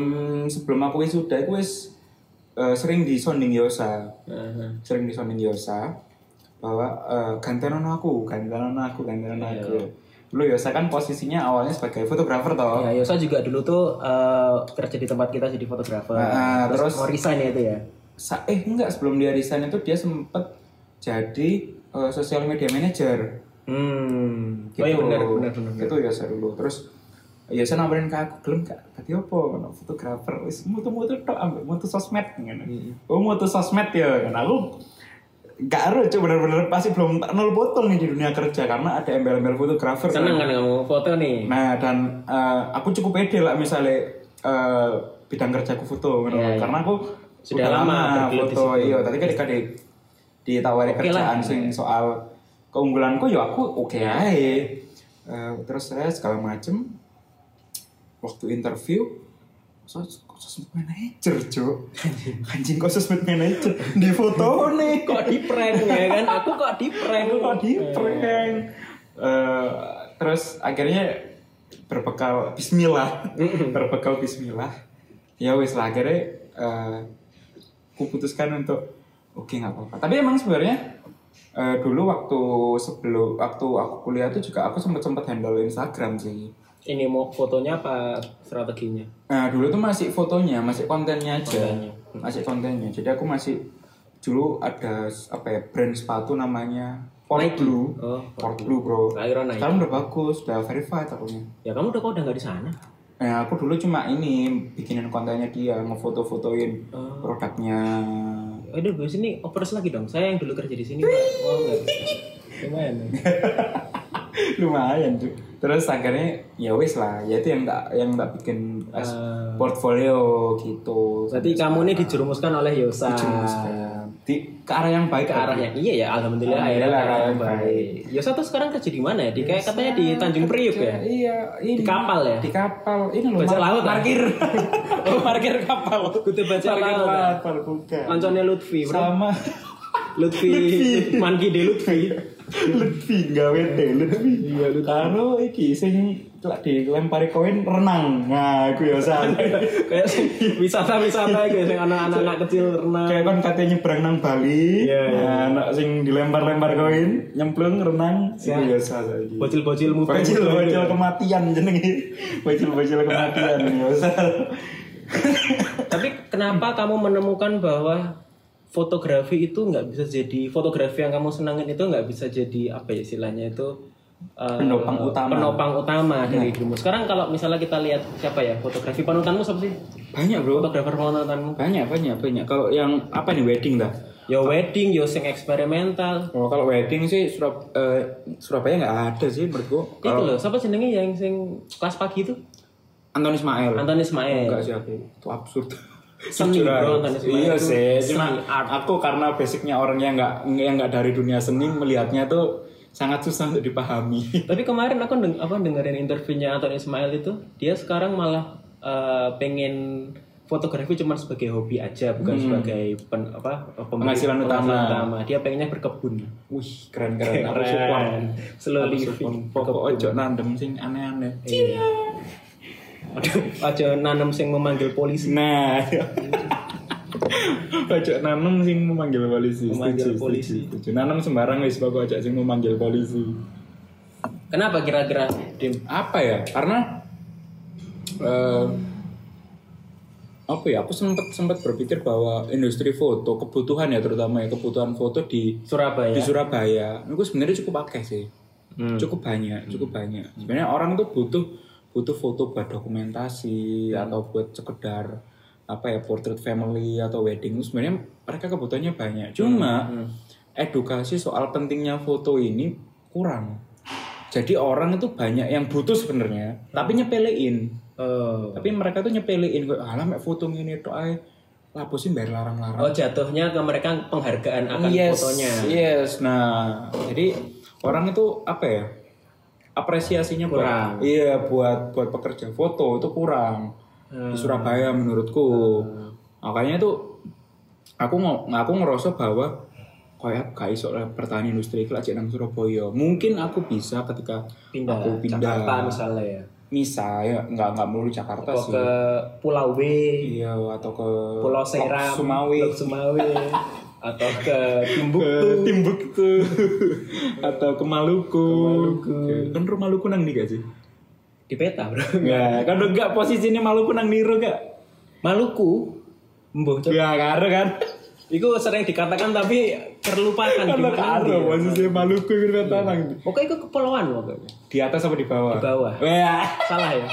[SPEAKER 2] sebelum aku wisuda, aku wis eh, sering disounding Yosa.
[SPEAKER 1] Heeh.
[SPEAKER 2] sering disonin Yosa bahwa eh gantian ono aku, gantian ono aku, gantian ono
[SPEAKER 1] Iya.
[SPEAKER 2] aku. Dulu Yosa kan posisinya awalnya sebagai fotografer toh.
[SPEAKER 1] Ya, Yosa juga dulu tuh eh, kerja di tempat kita jadi fotografer.
[SPEAKER 2] Nah, terus-
[SPEAKER 1] mau resign ya itu ya.
[SPEAKER 2] Sa- eh enggak sebelum dia resign itu dia sempet jadi eh, social media manager.
[SPEAKER 1] Hmm.
[SPEAKER 2] Gitu.
[SPEAKER 1] Oh iya benar benar benar.
[SPEAKER 2] Itu Yosa dulu. Terus Yosa nawarin ke aku, "Gelem gak? Tadi opo Ono fotografer wis mutu-mutu tok ambek mutu sosmed ngene." Oh, mutu sosmed ya. Kan aku gak ero Cuk. bener-bener pasti belum tak nol potong nih di dunia kerja karena ada embel-embel fotografer.
[SPEAKER 1] Seneng kan kamu foto nih.
[SPEAKER 2] Nah dan eh, aku cukup pede lah misalnya eh, bidang kerjaku foto gitu.
[SPEAKER 1] Iya, iya.
[SPEAKER 2] karena aku
[SPEAKER 1] Sudah lama bergelut di
[SPEAKER 2] foto iya tapi ketika di ditawari kerjaan sing soal keunggulanku ya aku oke aja Eh, terus saya segala macem waktu interview so kok sosmed manager cuk anjing kok sosmed manager di foto oh, nih
[SPEAKER 1] Kok di prank ya kan? Aku kok di prank.
[SPEAKER 2] Kok di prank? Eh, terus akhirnya berbekal bismillah berbekal bismillah ya wis lah akhirnya eh, aku putuskan untuk oke nggak apa-apa tapi emang sebenarnya eh, dulu waktu sebelum waktu aku kuliah tuh juga aku sempet sempet handle Instagram sih
[SPEAKER 1] Ini mau fotonya apa strateginya?
[SPEAKER 2] Nah, dulu tuh masih fotonya, masih kontennya aja. Masih kontennya. Jadi aku masih dulu ada s- apa ya, brand sepatu namanya Port Blue.
[SPEAKER 1] Oh,
[SPEAKER 2] Port Blue, Nah, Bro.
[SPEAKER 1] Akhirnya naik.
[SPEAKER 2] Sekarang udah bagus, udah verified akunya.
[SPEAKER 1] Ya kamu udah kok udah nggak di sana.
[SPEAKER 2] Nah, aku dulu cuma ini bikinin kontennya dia, ngefoto-fotoin
[SPEAKER 1] Oh.
[SPEAKER 2] produknya.
[SPEAKER 1] Aduh, di sini operas lagi dong. Saya yang dulu kerja di sini, Pak. Mau nggak? Lumayan.
[SPEAKER 2] Lumayan tuh. Terus akhirnya ya wis lah, ya itu yang tak yang tak bikin as-
[SPEAKER 1] Eh.
[SPEAKER 2] portfolio gitu.
[SPEAKER 1] Berarti kamu ini dijerumuskan oleh Yosa.
[SPEAKER 2] Nah, di ke arah yang baik
[SPEAKER 1] ke arahnya. Iya ya, alhamdulillah akhirnya
[SPEAKER 2] Alhamdulillah,
[SPEAKER 1] ke arah yang
[SPEAKER 2] baik.
[SPEAKER 1] baik. Yosa tuh sekarang kerja di mana ya? Di kayak katanya di Tanjung Priuk ya.
[SPEAKER 2] Iya, ini.
[SPEAKER 1] Di kapal ya?
[SPEAKER 2] Di kapal. Ini loh.
[SPEAKER 1] Bajak
[SPEAKER 2] mar-
[SPEAKER 1] laut, ah?
[SPEAKER 2] Parkir. oh, parkir kapal.
[SPEAKER 1] Kutu bajak
[SPEAKER 2] Parkir
[SPEAKER 1] laut, ah?
[SPEAKER 2] kapal bukan.
[SPEAKER 1] Lanconnya Lutfi, bro.
[SPEAKER 2] Sama.
[SPEAKER 1] Lutfi, Manki de Lutfi.
[SPEAKER 2] Lutfi gawe teh Lutfi. Iya Lutfi. Karo iki sing lak dilempari koin renang. Nah, aku ya salah.
[SPEAKER 1] kayak wisata-wisata kayak sing anak anak kecil renang
[SPEAKER 2] Kayak kan katanya nyebrang nang Bali,
[SPEAKER 1] Iya, iya.
[SPEAKER 2] nah, nak sing dilempar-lempar koin, nyemplung renang, ya, sing
[SPEAKER 1] Iya.
[SPEAKER 2] biasa lagi.
[SPEAKER 1] bocil-bocil muter
[SPEAKER 2] Bocil-bocil kematian jenenge. Bocil-bocil kematian ya, biasa.
[SPEAKER 1] tapi kenapa kamu menemukan bahwa fotografi itu nggak bisa jadi fotografi yang kamu senangin itu nggak bisa jadi apa ya istilahnya itu eh,
[SPEAKER 2] Penopang utama. Nah.
[SPEAKER 1] penopang utama dari dirimu sekarang kalau misalnya kita lihat siapa ya fotografi panutanmu siapa sih
[SPEAKER 2] Banyak, Bro.
[SPEAKER 1] fotografer panutanmu
[SPEAKER 2] Banyak, banyak, banyak. Kalau yang apa nih wedding dah?
[SPEAKER 1] ya wedding ya sing eksperimental
[SPEAKER 2] Oh, kalau wedding sih Surab- eh, Surabaya nggak ada sih menurutku.
[SPEAKER 1] itu
[SPEAKER 2] Kalau
[SPEAKER 1] loh siapa jenenge yang sing kelas pagi itu
[SPEAKER 2] Anton Ismail.
[SPEAKER 1] Anton Ismail
[SPEAKER 2] Enggak sih aku. Itu absurd.
[SPEAKER 1] Iya. Seni,
[SPEAKER 2] Jujur
[SPEAKER 1] bro,
[SPEAKER 2] aja.
[SPEAKER 1] Anton Ismail
[SPEAKER 2] Iya
[SPEAKER 1] itu
[SPEAKER 2] sih,
[SPEAKER 1] seni.
[SPEAKER 2] cuma aku karena basicnya orang yang nggak yang nggak dari dunia seni melihatnya tuh sangat susah untuk dipahami.
[SPEAKER 1] Tapi kemarin aku deng apa dengerin interviewnya Anton Ismail itu, dia sekarang malah eh, pengen fotografi cuma sebagai hobi aja, bukan sebagai pen, apa eh, pembeli-
[SPEAKER 2] Hmm. Penghasilan utama.
[SPEAKER 1] Dia pengennya berkebun.
[SPEAKER 2] Wih, keren keren. Aku support.
[SPEAKER 1] Slow
[SPEAKER 2] Aku support.
[SPEAKER 1] living. Iya.
[SPEAKER 2] Pokok ojo nandem sing aneh-aneh.
[SPEAKER 1] Aduh, aja nanem sing memanggil polisi.
[SPEAKER 2] Nah. ojo nanem sing memanggil polisi.
[SPEAKER 1] Memanggil
[SPEAKER 2] Setuju, setuju,
[SPEAKER 1] polisi.
[SPEAKER 2] setuju. Nanem sembarang wis pokok ojo sing memanggil polisi.
[SPEAKER 1] Kenapa kira-kira Dim?
[SPEAKER 2] apa ya karena eh, apa ya aku sempat sempat berpikir bahwa industri foto kebutuhan ya terutama ya kebutuhan foto di
[SPEAKER 1] Surabaya?
[SPEAKER 2] di Surabaya itu sebenarnya cukup pakai sih
[SPEAKER 1] Iya. Hmm.
[SPEAKER 2] cukup banyak cukup banyak sebenarnya orang tuh butuh butuh foto buat dokumentasi
[SPEAKER 1] Hmm.
[SPEAKER 2] atau buat sekedar apa ya portrait family atau wedding sebenarnya mereka kebutuhannya banyak cuma
[SPEAKER 1] Hmm,
[SPEAKER 2] edukasi soal pentingnya foto ini kurang jadi orang itu banyak yang butuh
[SPEAKER 1] Hmm.
[SPEAKER 2] sebenarnya tapi nyepelein
[SPEAKER 1] Oh.
[SPEAKER 2] tapi mereka tuh nyepelein kok alah mek foto ngene tok ae lapo sih mbak larang-larang
[SPEAKER 1] Oh, jatuhnya ke mereka penghargaan akan
[SPEAKER 2] yes,
[SPEAKER 1] fotonya.
[SPEAKER 2] Yes, nah jadi orang itu apa ya apresiasinya buat-
[SPEAKER 1] Kurang.
[SPEAKER 2] iya buat buat pekerja foto itu kurang
[SPEAKER 1] Hmm.
[SPEAKER 2] di Surabaya menurutku. Makanya itu aku ngo- aku ngerasa bahwa kayak gak iso lah bertahan industri iki lak cek nang Surabaya. Mungkin aku bisa ketika
[SPEAKER 1] Pindah,
[SPEAKER 2] aku pindah
[SPEAKER 1] Jakarta misalnya ya.
[SPEAKER 2] misal ya nggak nggak melulu Jakarta
[SPEAKER 1] Atau
[SPEAKER 2] sih.
[SPEAKER 1] ke Pulau W.
[SPEAKER 2] Iya atau ke
[SPEAKER 1] Pulau Seram,
[SPEAKER 2] Lok Sumawi.
[SPEAKER 1] Lok Sumawi, atau ke
[SPEAKER 2] ke
[SPEAKER 1] Timbuktu.
[SPEAKER 2] Timbuktu atau ke Maluku. Kan rumah Maluku nang ndi gak sih?
[SPEAKER 1] Di peta, Bro.
[SPEAKER 2] Enggak, kan enggak posisinya Maluku nang niru gak?
[SPEAKER 1] Maluku. Mbuh, Cok.
[SPEAKER 2] Ya karo kan.
[SPEAKER 1] Iku sering dikatakan tapi terlupakan di
[SPEAKER 2] Kan
[SPEAKER 1] mana
[SPEAKER 2] karo
[SPEAKER 1] dia.
[SPEAKER 2] posisinya Maluku iku kata nang ndi?
[SPEAKER 1] Pokoknya itu kepulauan pokoknya.
[SPEAKER 2] Di atas apa di bawah?
[SPEAKER 1] Di bawah.
[SPEAKER 2] Wah,
[SPEAKER 1] Salah ya.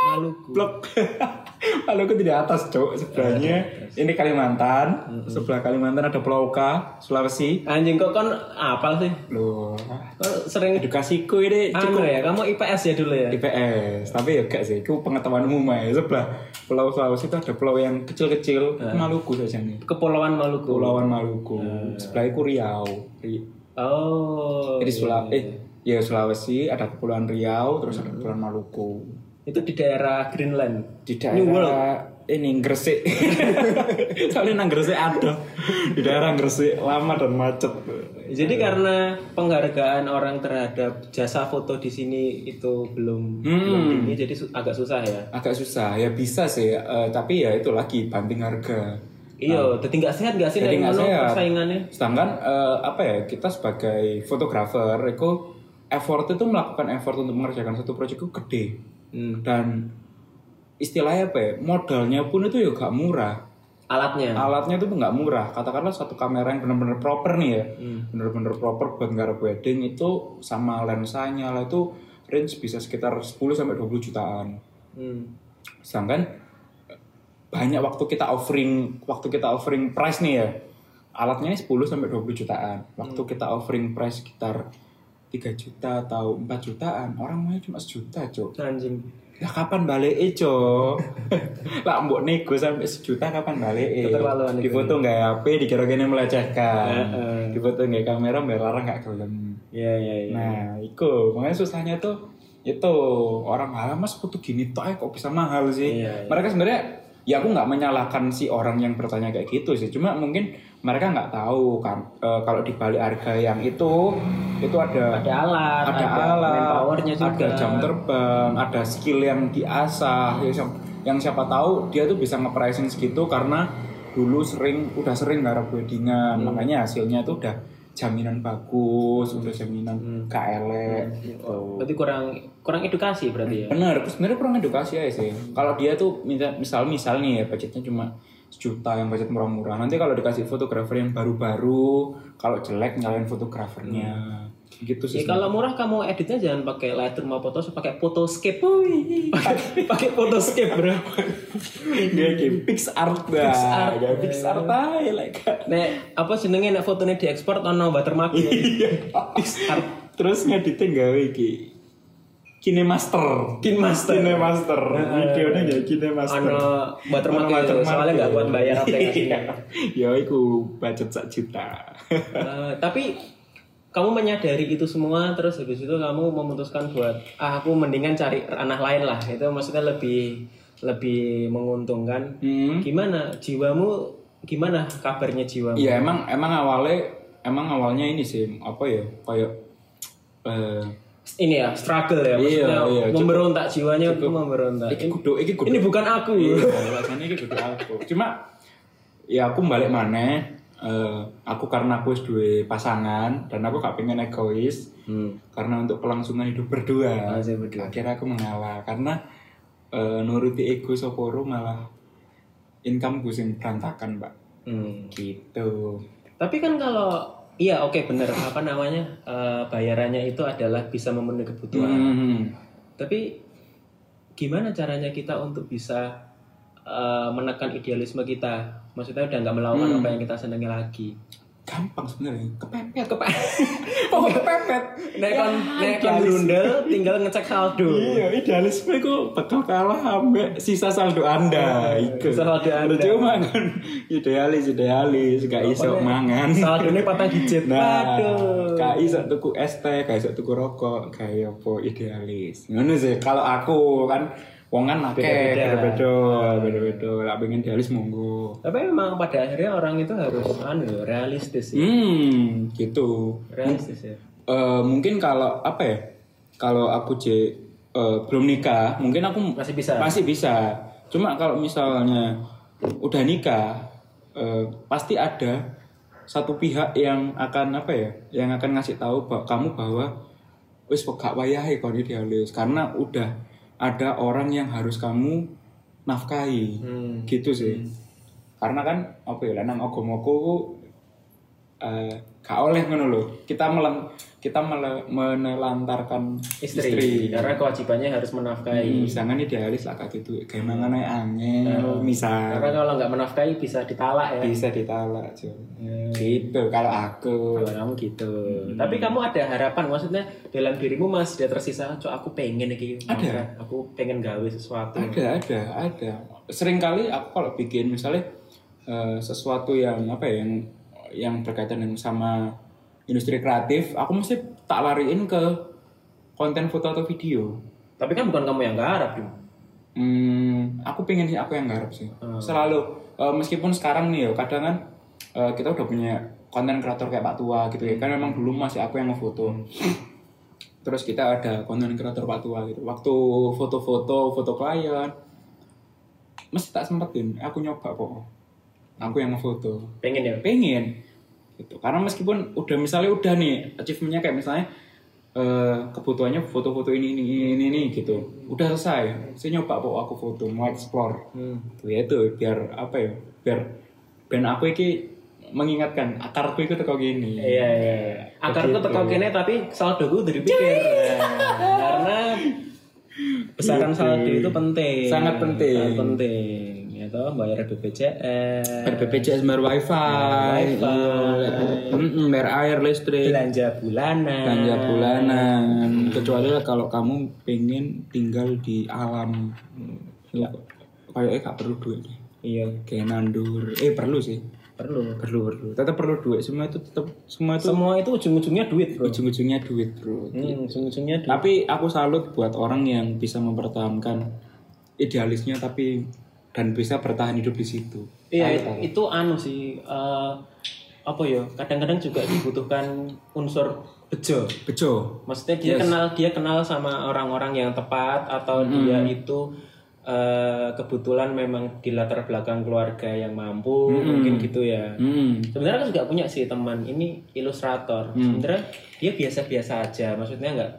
[SPEAKER 1] Maluku.
[SPEAKER 2] blok. Maluku tidak atas, Cok. Sebelahnya ini Kalimantan, sebelah Kalimantan ada Pulau K, Sulawesi.
[SPEAKER 1] Anjing kok kon apal sih?
[SPEAKER 2] Loh,
[SPEAKER 1] Kon sering
[SPEAKER 2] edukasiku ini
[SPEAKER 1] anu ya, kamu IPS ya dulu ya.
[SPEAKER 2] IPS tapi ya gak sih itu pengetahuan umum aja sebelah pulau Sulawesi itu ada pulau yang kecil-kecil itu Maluku saja nih
[SPEAKER 1] Kepulauan Maluku.
[SPEAKER 2] pulauan Maluku sebelah itu Riau Ri-
[SPEAKER 1] Oh.
[SPEAKER 2] jadi Sulawesi eh ya Sulawesi ada kepulauan Riau terus ada kepulauan Maluku
[SPEAKER 1] Itu di daerah Greenland.
[SPEAKER 2] di daerah ini Gresik soalnya nang Gresik ada di daerah Gresik lama dan macet
[SPEAKER 1] Jadi
[SPEAKER 2] Iya.
[SPEAKER 1] karena penghargaan orang terhadap jasa foto di sini itu belum
[SPEAKER 2] Hmm.
[SPEAKER 1] belum tinggi, jadi su- agak susah ya.
[SPEAKER 2] agak susah ya bisa sih eh, tapi ya itu lagi banting harga
[SPEAKER 1] Iya, jadi nggak sehat nggak sih
[SPEAKER 2] Ah. Jadi
[SPEAKER 1] dari
[SPEAKER 2] nggak
[SPEAKER 1] mana
[SPEAKER 2] sehat.
[SPEAKER 1] persaingannya?
[SPEAKER 2] Sedangkan eh, apa ya kita sebagai fotografer itu effort itu melakukan effort untuk mengerjakan satu proyek itu gede
[SPEAKER 1] Hmm.
[SPEAKER 2] dan istilahnya apa ya modalnya pun itu ya gak murah
[SPEAKER 1] Alatnya.
[SPEAKER 2] alatnya itu nggak murah katakanlah satu kamera yang benar-benar proper nih ya benar-benar proper buat ngarep wedding itu sama lensanya lah itu range bisa sekitar 10 sampai 20 jutaan
[SPEAKER 1] Hmm.
[SPEAKER 2] sedangkan eh, banyak waktu kita offering waktu kita offering price nih ya alatnya 10 sampai 20 jutaan waktu kita offering price sekitar 3 juta atau 4 jutaan orang mau cuma sejuta cok
[SPEAKER 1] Anjing.
[SPEAKER 2] lah kapan balik cok lah mbok nego sampai sejuta kapan balik
[SPEAKER 1] Keterlaluan
[SPEAKER 2] di foto nggak HP dikira kene melecehkan
[SPEAKER 1] Heeh.
[SPEAKER 2] di foto nggak kamera mbak larang nggak gelem
[SPEAKER 1] Iya iya iya.
[SPEAKER 2] Nah, iku makanya susahnya tuh itu orang alam mas foto gini toh eh, kok bisa mahal sih.
[SPEAKER 1] Iya, iya.
[SPEAKER 2] Mereka sebenarnya ya aku nggak menyalahkan si orang yang bertanya kayak gitu sih. Cuma mungkin mereka nggak tahu kan eh, kalau di balik harga yang itu itu ada
[SPEAKER 1] ada alat
[SPEAKER 2] ada alat,
[SPEAKER 1] powernya juga
[SPEAKER 2] ada jam terbang, ada skill yang diasah. Ya, siap- yang siapa tahu dia tuh bisa nge-pricing segitu karena dulu sering udah sering garap weddingan,
[SPEAKER 1] Hmm.
[SPEAKER 2] makanya hasilnya tuh udah jaminan bagus, udah jaminan
[SPEAKER 1] Hmm.
[SPEAKER 2] gak elek gitu.
[SPEAKER 1] berarti kurang kurang edukasi berarti ya
[SPEAKER 2] Benar, sebenarnya kurang edukasi aja sih. Kalau dia tuh minta- misal misal nih ya budgetnya cuma sejuta yang budget murah-murah. Nanti kalau dikasih fotografer yang baru-baru, kalau jelek nyalain fotografernya. Gitu sih.
[SPEAKER 1] Ya, kalau murah kamu editnya jangan pakai Lightroom atau Photoshop, pakai Photoscape. Pakai- pakai Photoscape, Bro.
[SPEAKER 2] dia kayak pix art dah pix
[SPEAKER 1] art.
[SPEAKER 2] art pix art aja like
[SPEAKER 1] Nek apa jenenge nek fotone diekspor ono watermark.
[SPEAKER 2] Iya.
[SPEAKER 1] Pix art.
[SPEAKER 2] terus ngeditnya gawe ki kinemaster Nah,
[SPEAKER 1] Kinemaster.
[SPEAKER 2] kinemaster videonya kayak kinemaster
[SPEAKER 1] Ono watermark
[SPEAKER 2] Ono
[SPEAKER 1] itu,
[SPEAKER 2] watermark
[SPEAKER 1] soalnya nggak kuat bayar aplikasinya.
[SPEAKER 2] ya aku budget sak juta
[SPEAKER 1] Eh, tapi kamu menyadari itu semua terus habis itu kamu memutuskan buat ah aku mendingan cari ranah lain lah. Itu maksudnya lebih lebih menguntungkan.
[SPEAKER 2] hmm.
[SPEAKER 1] Gimana jiwamu? Gimana kabarnya jiwamu?
[SPEAKER 2] ya emang emang awalnya emang awalnya ini sih apa ya kayak eh
[SPEAKER 1] ini ya struggle ya maksudnya
[SPEAKER 2] Iya, iya, cukup-
[SPEAKER 1] memberontak jiwanya memberontak
[SPEAKER 2] iki kudu iki kudu
[SPEAKER 1] ini bukan aku
[SPEAKER 2] Iya.
[SPEAKER 1] Hmm.
[SPEAKER 2] alasannya iki kudu gitu aku cuma ya aku balik mana aku karena aku wis duwe pasangan dan aku gak pengen egois
[SPEAKER 1] hmm.
[SPEAKER 2] karena untuk kelangsungan hidup berdua
[SPEAKER 1] Ah, saya berdua.
[SPEAKER 2] akhirnya aku mengalah karena eh, nuruti ego soporo malah income gue sing berantakan mbak gitu
[SPEAKER 1] Hmm, tapi kan kalau iya oke bener apa namanya eh, bayarannya itu adalah bisa memenuhi kebutuhan
[SPEAKER 2] Hmm.
[SPEAKER 1] tapi gimana caranya kita untuk bisa eh, menekan idealisme kita maksudnya udah nggak
[SPEAKER 2] Hmm.
[SPEAKER 1] melawan apa yang kita senangi lagi
[SPEAKER 2] gampang sebenarnya kepepet
[SPEAKER 1] Kepa-
[SPEAKER 2] oh kepepet
[SPEAKER 1] nek kon
[SPEAKER 2] Ya,
[SPEAKER 1] nek kon
[SPEAKER 2] idealis.
[SPEAKER 1] grundel, tinggal ngecek saldo
[SPEAKER 2] Iya, idealisme ku bakal kalah ambek sisa saldo Anda. Iku.
[SPEAKER 1] Iya, sisa saldo Anda.
[SPEAKER 2] Percuma kan idealis idealis gak iso
[SPEAKER 1] Pokoknya
[SPEAKER 2] mangan.
[SPEAKER 1] saldonya patah digit
[SPEAKER 2] Nah,
[SPEAKER 1] ya? Waduh.
[SPEAKER 2] gak iso tuku es teh, gak iso tuku rokok, kayak apa idealis. Ngono sih kalau aku kan wong kan akeh
[SPEAKER 1] Beda-beda. Ah.
[SPEAKER 2] beda-beda, beda-beda. Lah pengen idealis monggo.
[SPEAKER 1] Tapi memang pada akhirnya orang itu harus anu ya, realistis sih.
[SPEAKER 2] Hmm, gitu.
[SPEAKER 1] Realistis ya.
[SPEAKER 2] Eh, mungkin kalau apa ya? Kalau aku je eh, belum nikah, mungkin aku
[SPEAKER 1] Masih bisa.
[SPEAKER 2] Masih bisa. Cuma kalau misalnya udah nikah, eh, pasti ada satu pihak yang akan apa ya? Yang akan ngasih tahu bah- kamu bahwa wis gak wayahe kon idealis karena udah ada orang yang harus kamu nafkahi.
[SPEAKER 1] Hmm.
[SPEAKER 2] Gitu sih. Karena kan apa ya lanang agamaku ku, eh, gak oleh ngono lho. Kita meleng, kita mele- menelantarkan
[SPEAKER 1] Istri. Karena kewajibannya harus menafkahi.
[SPEAKER 2] Hmm, misalnya nih dialis lah kayak gitu kayak mangan ae angin misal
[SPEAKER 1] Karena kalau nggak menafkahi bisa ditalak ya.
[SPEAKER 2] bisa ditalak cuy
[SPEAKER 1] Hmm.
[SPEAKER 2] gitu kalau aku
[SPEAKER 1] Kalau kamu gitu. Tapi kamu ada harapan maksudnya dalam dirimu masih ada tersisa, "Cok, aku pengen iki. Ada. Aku pengen gawe sesuatu."
[SPEAKER 2] ada ada ada seringkali aku kalau bikin misalnya eh, sesuatu yang apa ya, yang yang berkaitan dengan sama industri kreatif aku mesti tak lariin ke konten foto atau video
[SPEAKER 1] Tapi kan bukan kamu yang nggak harap, Bim.
[SPEAKER 2] Hmm, aku pengen sih aku yang garap sih. Selalu eh, meskipun sekarang nih ya kadang kan eh, kita udah punya konten kreator kayak Pak Tua gitu ya. Kan memang dulu masih aku yang ngefoto. Terus kita ada konten kreator Pak Tua gitu. Waktu foto-foto, foto klien mesti tak sempetin. Aku nyoba kok. Aku yang ngefoto
[SPEAKER 1] Pengen ya.
[SPEAKER 2] pengen gitu karena meskipun udah misalnya udah nih achievementnya kayak misalnya eh, kebutuhannya foto-foto ini ini ini ini, ini gitu udah selesai saya nyoba kok aku foto mau explore
[SPEAKER 1] Hmm.
[SPEAKER 2] gitu ya itu biar apa ya biar band aku iki mengingatkan akarku itu teko gini
[SPEAKER 1] Iya, iya. iya. Akarku teko kene tapi saldoku dari pikir. Karena besaran saldo itu penting.
[SPEAKER 2] Sangat penting.
[SPEAKER 1] Sangat penting. Ya toh bayar BPJS,
[SPEAKER 2] bayar BPJS bayar wifi Mm-mm, bayar air listrik
[SPEAKER 1] belanja bulanan.
[SPEAKER 2] belanja bulanan Eh, kecuali lah kalau kamu pengen tinggal di alam kayaknya gak perlu duit deh.
[SPEAKER 1] Iya,
[SPEAKER 2] kayak nandur eh perlu sih
[SPEAKER 1] perlu.
[SPEAKER 2] perlu perlu tetap perlu duit semua itu tetap semua itu
[SPEAKER 1] Semua itu ujung-ujungnya duit, Bro.
[SPEAKER 2] ujung-ujungnya duit bro
[SPEAKER 1] Hmm, ujung-ujungnya duit.
[SPEAKER 2] tapi aku salut buat orang yang bisa mempertahankan idealisnya tapi dan bisa bertahan hidup di situ.
[SPEAKER 1] Iya, itu anu sih eh, apa ya? Kadang-kadang juga dibutuhkan unsur bejo.
[SPEAKER 2] Bejo.
[SPEAKER 1] Maksudnya dia kenal dia kenal sama orang-orang yang tepat
[SPEAKER 2] Hmm.
[SPEAKER 1] atau dia itu eh, kebetulan memang di latar belakang keluarga yang mampu mungkin gitu ya.
[SPEAKER 2] Hmm.
[SPEAKER 1] Sebenarnya aku juga punya sih teman ini ilustrator. Sebenarnya dia biasa-biasa aja. Maksudnya nggak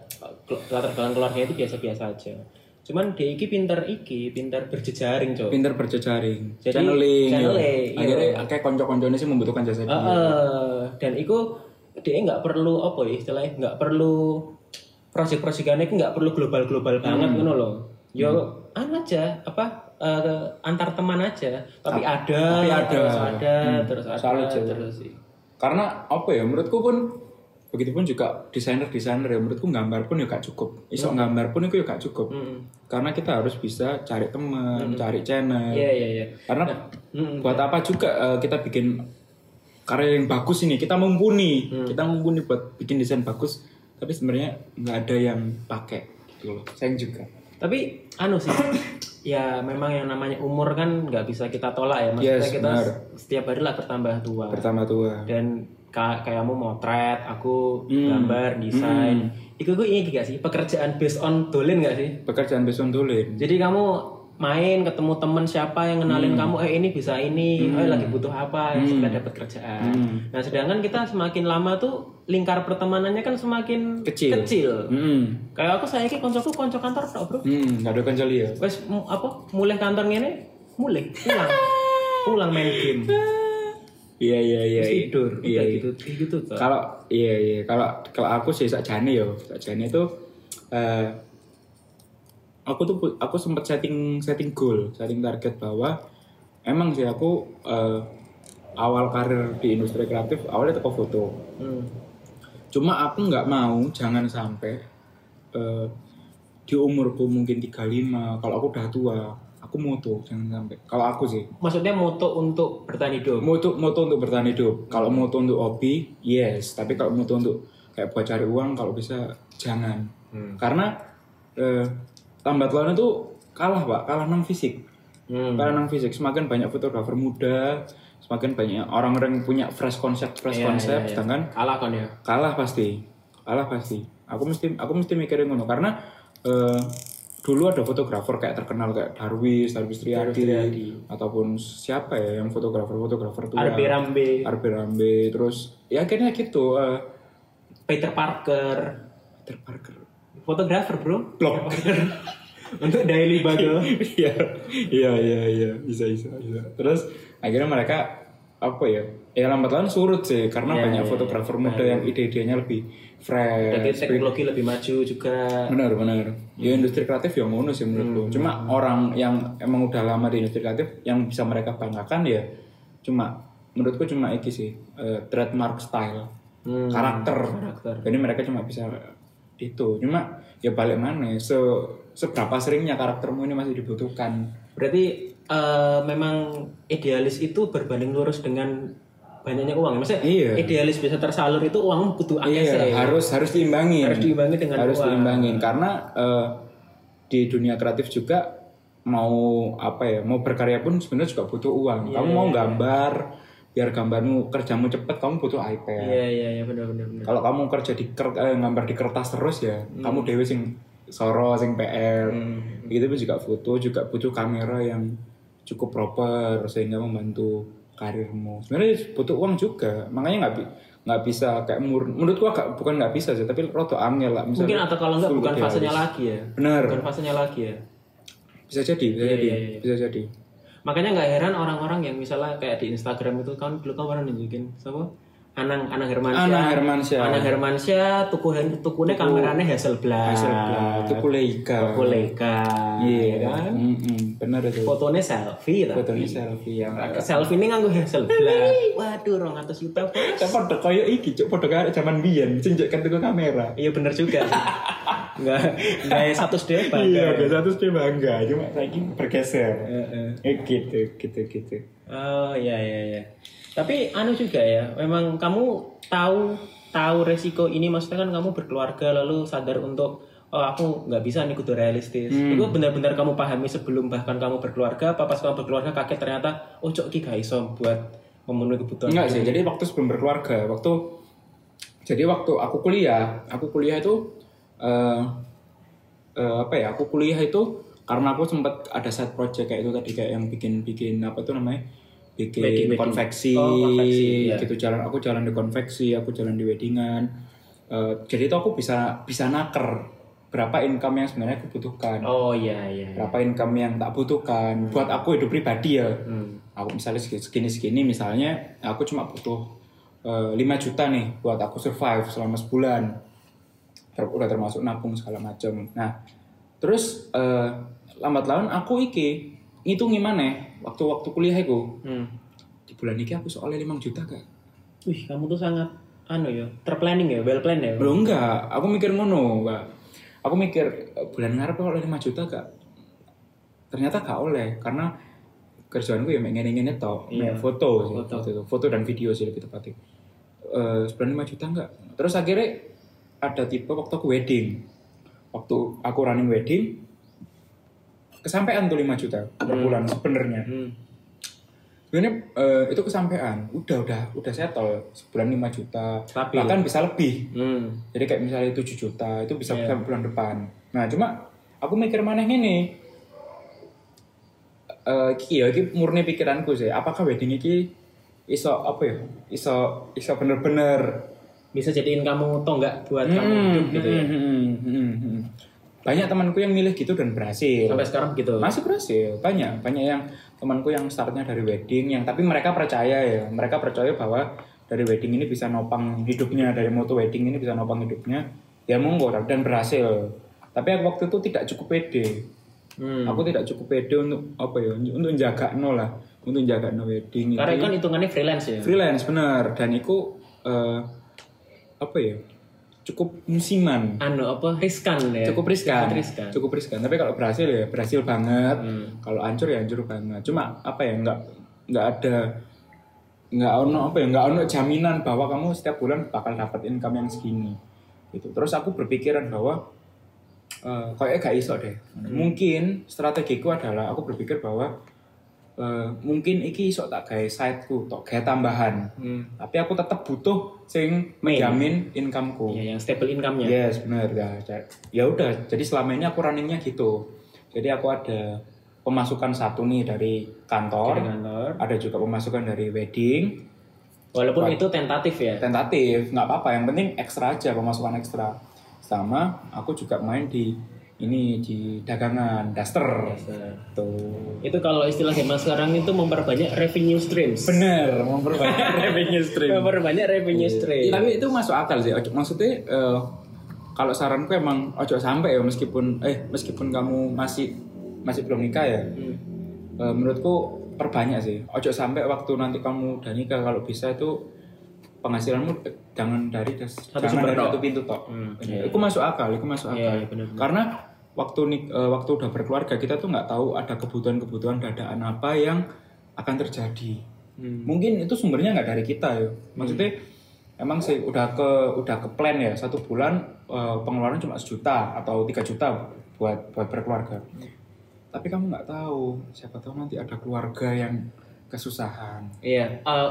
[SPEAKER 1] latar belakang keluarga itu biasa-biasa aja. Cuman dia iki pinter iki, pinter berjejaring, Cok.
[SPEAKER 2] Pinter berjejaring.
[SPEAKER 1] Jadi,
[SPEAKER 2] channeling.
[SPEAKER 1] channeling,
[SPEAKER 2] ya. Akhirnya kayak konco-konconya sih membutuhkan jasa dia.
[SPEAKER 1] Heeh, dan itu dia nggak perlu apa ya istilahnya nggak perlu proyek-proyekannya itu nggak perlu global-global banget ngono loh. Yo anu aja apa eh, antar teman aja Ah, tapi ada Hmm. terus ada terus ada terus
[SPEAKER 2] Karena apa ya menurutku pun begitupun juga desainer-desainer ya menurutku gambar pun ya gak cukup. Isok gambar pun itu ya gak cukup.
[SPEAKER 1] Mm.
[SPEAKER 2] Karena kita harus bisa cari teman, cari channel.
[SPEAKER 1] Iya iya iya.
[SPEAKER 2] Karena
[SPEAKER 1] Mm-mm.
[SPEAKER 2] buat apa juga eh, kita bikin karya yang bagus ini? Kita mumpuni, kita mumpuni buat bikin desain bagus, tapi sebenarnya nggak ada yang pakai gitu loh. Sayang juga.
[SPEAKER 1] Tapi anu sih ya memang yang namanya umur kan nggak bisa kita tolak ya maksudnya
[SPEAKER 2] Yes,
[SPEAKER 1] kita
[SPEAKER 2] benar.
[SPEAKER 1] setiap hari lah bertambah tua.
[SPEAKER 2] Pertama tua.
[SPEAKER 1] dan ka- kayamu motret, aku
[SPEAKER 2] Hmm.
[SPEAKER 1] gambar, desain. Itu gue ini gak sih pekerjaan based on dolin gak sih?
[SPEAKER 2] Pekerjaan besok tulen.
[SPEAKER 1] Jadi kamu main ketemu temen siapa yang
[SPEAKER 2] Hmm.
[SPEAKER 1] kenalin kamu eh ini bisa ini, eh lagi butuh apa, yang segera dapat kerjaan.
[SPEAKER 2] Hmm.
[SPEAKER 1] Nah, sedangkan kita semakin lama tuh lingkar pertemanannya kan semakin
[SPEAKER 2] Kecil. Hmm.
[SPEAKER 1] Kayak aku saya ki koncoku konco kantor tok, Bro.
[SPEAKER 2] Hmm, nggak ada kan ya.
[SPEAKER 1] Wes mu- apa mulai kantor ngene, mulai pulang. pulang main game,
[SPEAKER 2] Iya iya iya. iya.
[SPEAKER 1] tidur,
[SPEAKER 2] Iya,
[SPEAKER 1] udah
[SPEAKER 2] iya.
[SPEAKER 1] gitu, gitu tuh.
[SPEAKER 2] Kalau iya iya kalau kalau aku sih sakjane yo, sakjane itu eh aku tuh pu- aku sempat setting setting goal, setting target bahwa emang sih aku eh, awal karir di industri kreatif awalnya toko foto.
[SPEAKER 1] Hmm.
[SPEAKER 2] Cuma aku nggak mau jangan sampai eh, di umurku mungkin 35 kalau aku udah tua aku moto jangan sampai kalau aku sih
[SPEAKER 1] Maksudnya moto untuk bertahan hidup.
[SPEAKER 2] moto moto untuk bertahan hidup kalau moto untuk hobi yes tapi kalau moto untuk kayak buat cari uang kalau bisa jangan
[SPEAKER 1] Hmm.
[SPEAKER 2] karena eh, lambat laun itu kalah pak kalah nang fisik
[SPEAKER 1] Hmm.
[SPEAKER 2] kalah nang fisik semakin banyak fotografer muda semakin banyak orang-orang yang punya fresh konsep fresh
[SPEAKER 1] Iya,
[SPEAKER 2] konsep
[SPEAKER 1] iya, iya.
[SPEAKER 2] sedangkan
[SPEAKER 1] Kalah kan ya.
[SPEAKER 2] kalah pasti kalah pasti aku mesti aku mesti mikirin ngono karena eh, dulu ada fotografer kayak terkenal kayak Darwis, Darwis Triadi,
[SPEAKER 1] Triadi.
[SPEAKER 2] ataupun siapa ya yang fotografer-fotografer tua
[SPEAKER 1] Arbe Rambe,
[SPEAKER 2] Arbe Rambe terus ya akhirnya gitu eh,
[SPEAKER 1] Peter Parker,
[SPEAKER 2] Peter Parker
[SPEAKER 1] fotografer bro.
[SPEAKER 2] Blok.
[SPEAKER 1] untuk Daily Bugle.
[SPEAKER 2] iya iya iya iya bisa bisa bisa terus akhirnya mereka apa ya ya lambat laun surut sih karena
[SPEAKER 1] Iya,
[SPEAKER 2] banyak
[SPEAKER 1] iya,
[SPEAKER 2] fotografer muda yang ide-idenya lebih
[SPEAKER 1] Jadi
[SPEAKER 2] fresh
[SPEAKER 1] teknologi lebih maju juga.
[SPEAKER 2] benar benar
[SPEAKER 1] Hmm.
[SPEAKER 2] ya industri kreatif yang ngono sih menurutku cuma orang yang emang udah lama di industri kreatif yang bisa mereka banggakan ya cuma menurutku cuma iki sih eh, trademark style
[SPEAKER 1] Hmm,
[SPEAKER 2] karakter.
[SPEAKER 1] karakter.
[SPEAKER 2] jadi mereka cuma bisa itu cuma ya balik mana se seberapa seringnya karaktermu ini masih dibutuhkan
[SPEAKER 1] Berarti eh, memang idealis itu berbanding lurus dengan banyaknya uang. ya? Maksudnya
[SPEAKER 2] Iya.
[SPEAKER 1] idealis bisa tersalur itu uang butuh akses ya.
[SPEAKER 2] Iya, harus harus diimbangin.
[SPEAKER 1] Harus diimbangi dengan
[SPEAKER 2] harus
[SPEAKER 1] uang.
[SPEAKER 2] diimbangin karena eh, di dunia kreatif juga mau apa ya, mau berkarya pun sebenarnya juga butuh uang. Kamu mau gambar, biar gambarmu kerjamu cepet, kamu butuh iPad.
[SPEAKER 1] Iya iya iya benar benar benar.
[SPEAKER 2] Kalau kamu kerja di ker- eh, gambar di kertas terus ya,
[SPEAKER 1] Hmm.
[SPEAKER 2] kamu dewe sing soro sing PR. Begitu pun juga foto juga butuh kamera yang cukup proper sehingga membantu karirmu. Sebenarnya butuh uang juga, makanya nggak bi- nggak bisa kayak mur menurutku agak bukan nggak bisa sih, tapi roto angel lah
[SPEAKER 1] Mungkin
[SPEAKER 2] misalnya.
[SPEAKER 1] atau kalau enggak
[SPEAKER 2] full
[SPEAKER 1] bukan
[SPEAKER 2] idealis.
[SPEAKER 1] fasenya lagi ya.
[SPEAKER 2] Bener,
[SPEAKER 1] Bukan fasenya lagi ya.
[SPEAKER 2] bisa jadi, bisa jadi,
[SPEAKER 1] iya, iya.
[SPEAKER 2] bisa jadi.
[SPEAKER 1] Makanya nggak heran orang-orang yang misalnya kayak di Instagram itu kan dulu kan orang nunjukin siapa? Anang Anang Hermansyah.
[SPEAKER 2] Anang Hermansyah.
[SPEAKER 1] Anang Hermansyah tuku tukune kamerane Hasselblad.
[SPEAKER 2] Hasil blog, itu kuleika.
[SPEAKER 1] Tuku Leica.
[SPEAKER 2] Iya,
[SPEAKER 1] ya kan?
[SPEAKER 2] Mm-mm, bener itu.
[SPEAKER 1] Fotonya selfie tapi.
[SPEAKER 2] Fotonya selfie yang
[SPEAKER 1] Selfie ini nganggo Hasselblad. Waduh, 200 juta. Bos.
[SPEAKER 2] Cek podo koyo iki, cek podo kaya zaman biyen, sing jek kan tuku kamera.
[SPEAKER 1] Iya bener juga. sih. Nggak nggak ya satu step
[SPEAKER 2] Iya, biasa terus dia bangga, cuma saiki bergeser. Eh gitu, gitu, gitu.
[SPEAKER 1] Oh iya iya iya. Tapi anu juga ya, memang kamu tahu tahu resiko ini maksudnya kan kamu berkeluarga lalu sadar untuk oh aku nggak bisa nih kudu realistis itu benar-benar kamu pahami sebelum bahkan kamu berkeluarga apa pas kamu berkeluarga kaget ternyata oh cok ki gak iso buat memenuhi kebutuhan
[SPEAKER 2] Enggak sih, jadi waktu sebelum berkeluarga, waktu jadi waktu aku kuliah, aku kuliah itu eh eh, apa ya? Aku kuliah itu karena aku sempat ada side project kayak itu tadi kayak yang bikin-bikin apa tuh namanya? bikin
[SPEAKER 1] Baking, baking.
[SPEAKER 2] konveksi,
[SPEAKER 1] Oh, konveksi, iya.
[SPEAKER 2] gitu jalan aku jalan di konveksi, aku jalan di weddingan. Eh, jadi itu aku bisa bisa naker berapa income yang sebenarnya aku butuhkan.
[SPEAKER 1] oh iya iya iya.
[SPEAKER 2] Berapa income yang tak butuhkan buat aku hidup pribadi ya
[SPEAKER 1] Hmm.
[SPEAKER 2] aku misalnya segini segini misalnya aku cuma butuh eh, 5 juta nih buat aku survive selama sebulan Ter- udah termasuk nabung segala macam nah terus eh, lambat laun aku iki ngitungi mana waktu waktu kuliah aku
[SPEAKER 1] Hmm.
[SPEAKER 2] di bulan ini aku soalnya 5 juta gak
[SPEAKER 1] Wih, kamu tuh sangat anu ya, terplanning ya, well plan ya.
[SPEAKER 2] belum enggak aku mikir ngono Mbak. aku mikir eh, bulan ngarep oleh 5 juta gak ternyata gak oleh karena kerjaanku ya mek ngene-ngene tok
[SPEAKER 1] Iya.
[SPEAKER 2] mek foto sih
[SPEAKER 1] Foto.
[SPEAKER 2] waktu itu. foto dan video sih lebih tepatnya Eh sebulan 5 juta enggak terus akhirnya ada tipe waktu aku wedding waktu aku running wedding kesampaian tuh 5 juta per
[SPEAKER 1] Hmm.
[SPEAKER 2] bulan sebenarnya
[SPEAKER 1] Hmm.
[SPEAKER 2] sebenarnya eh, itu kesampaian udah udah udah settle sebulan 5 juta
[SPEAKER 1] Stabil.
[SPEAKER 2] bahkan bisa lebih
[SPEAKER 1] Hmm.
[SPEAKER 2] jadi kayak misalnya 7 juta itu bisa
[SPEAKER 1] Iya.
[SPEAKER 2] sampai bulan depan. Nah cuma aku mikir maneh ini, eh iki ya iki murni pikiranku sih. Apakah wedding iki iso apa ya? Iso iso bener-bener
[SPEAKER 1] Bisa jadiin kamu tonggak buat kamu
[SPEAKER 2] Hmm,
[SPEAKER 1] hidup gitu ya.
[SPEAKER 2] hmm, hmm, hmm, hmm. Banyak temanku yang milih gitu dan berhasil.
[SPEAKER 1] Sampai sekarang gitu.
[SPEAKER 2] Masih berhasil. Banyak banyak yang temanku yang startnya dari wedding yang tapi mereka percaya ya. Mereka percaya bahwa dari wedding ini bisa nopang hidupnya dari moto wedding ini bisa nopang hidupnya. Ya monggo dan berhasil. Tapi aku waktu itu tidak cukup pede.
[SPEAKER 1] Hmm.
[SPEAKER 2] Aku tidak cukup pede untuk apa ya? Untuk jaga nol lah. Untuk jaga wedding.
[SPEAKER 1] Karena
[SPEAKER 2] itu.
[SPEAKER 1] kan hitungannya freelance ya.
[SPEAKER 2] freelance bener dan itu eh, apa ya? Cukup musiman
[SPEAKER 1] Anu apa riskan ya.
[SPEAKER 2] cukup riskan
[SPEAKER 1] Cukup riskan.
[SPEAKER 2] cukup riskan tapi kalau berhasil ya berhasil banget
[SPEAKER 1] Hmm.
[SPEAKER 2] kalau hancur ya hancur banget cuma apa ya nggak nggak ada nggak ono apa ya nggak ono jaminan bahwa kamu setiap bulan bakal dapat income yang segini gitu terus aku berpikiran bahwa eh kayaknya gak iso deh
[SPEAKER 1] Hmm.
[SPEAKER 2] mungkin strategiku adalah aku berpikir bahwa eh, mungkin iki iso tak gawe sideku tok gawe tambahan
[SPEAKER 1] Hmm.
[SPEAKER 2] tapi aku tetap butuh sing
[SPEAKER 1] Main.
[SPEAKER 2] menjamin incomeku
[SPEAKER 1] Ya, yang stable income-nya.
[SPEAKER 2] Yes, benar. Ya, ca- ya udah, jadi selama ini aku runningnya gitu. Jadi aku ada pemasukan satu nih dari
[SPEAKER 1] Dari
[SPEAKER 2] kantor,
[SPEAKER 1] kantor.
[SPEAKER 2] ada juga pemasukan dari wedding,
[SPEAKER 1] Walaupun itu tentatif ya.
[SPEAKER 2] tentatif, nggak apa-apa. Yang penting ekstra aja pemasukan ekstra. Sama, aku juga main di ini di dagangan daster.
[SPEAKER 1] Biasa.
[SPEAKER 2] Tuh.
[SPEAKER 1] Itu kalau istilah zaman sekarang itu memperbanyak revenue streams.
[SPEAKER 2] Bener, memperbanyak revenue stream.
[SPEAKER 1] Memperbanyak revenue stream.
[SPEAKER 2] Iya, tapi itu masuk akal sih. Ojo- Maksudnya eh, kalau saranku emang ojo sampai ya meskipun eh meskipun kamu masih masih belum nikah ya.
[SPEAKER 1] Hmm.
[SPEAKER 2] eh, menurutku perbanyak sih. Ojo sampai waktu nanti kamu udah nikah kalau bisa itu penghasilanmu eh, jangan dari jangan
[SPEAKER 1] sumber
[SPEAKER 2] dari
[SPEAKER 1] tok.
[SPEAKER 2] satu pintu tok.
[SPEAKER 1] Hmm,
[SPEAKER 2] Iya, Itu masuk akal, itu
[SPEAKER 1] Iya,
[SPEAKER 2] masuk akal.
[SPEAKER 1] iya, benar-benar.
[SPEAKER 2] Karena waktu nik- eh, waktu udah berkeluarga kita tuh nggak tahu ada kebutuhan-kebutuhan dadaan apa yang akan terjadi
[SPEAKER 1] Hmm.
[SPEAKER 2] mungkin itu sumbernya nggak dari kita ya maksudnya emang sih udah ke udah ke plan ya satu bulan eh, pengeluaran cuma sejuta atau tiga juta buat buat berkeluarga
[SPEAKER 1] Hmm.
[SPEAKER 2] tapi kamu nggak tahu siapa tahu nanti ada keluarga yang kesusahan
[SPEAKER 1] Iya. Eh,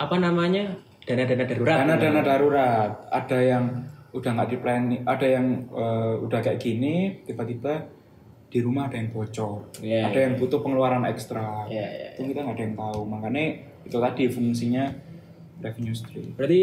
[SPEAKER 1] apa namanya? Dana-dana darurat.
[SPEAKER 2] dana dana darurat ada yang udah nggak di plan ada yang eh, udah kayak gini tiba-tiba di rumah ada yang bocor
[SPEAKER 1] Iya,
[SPEAKER 2] ada yang butuh pengeluaran ekstra
[SPEAKER 1] Iya, iya.
[SPEAKER 2] itu kita nggak ada yang tahu makanya itu tadi fungsinya revenue stream
[SPEAKER 1] Berarti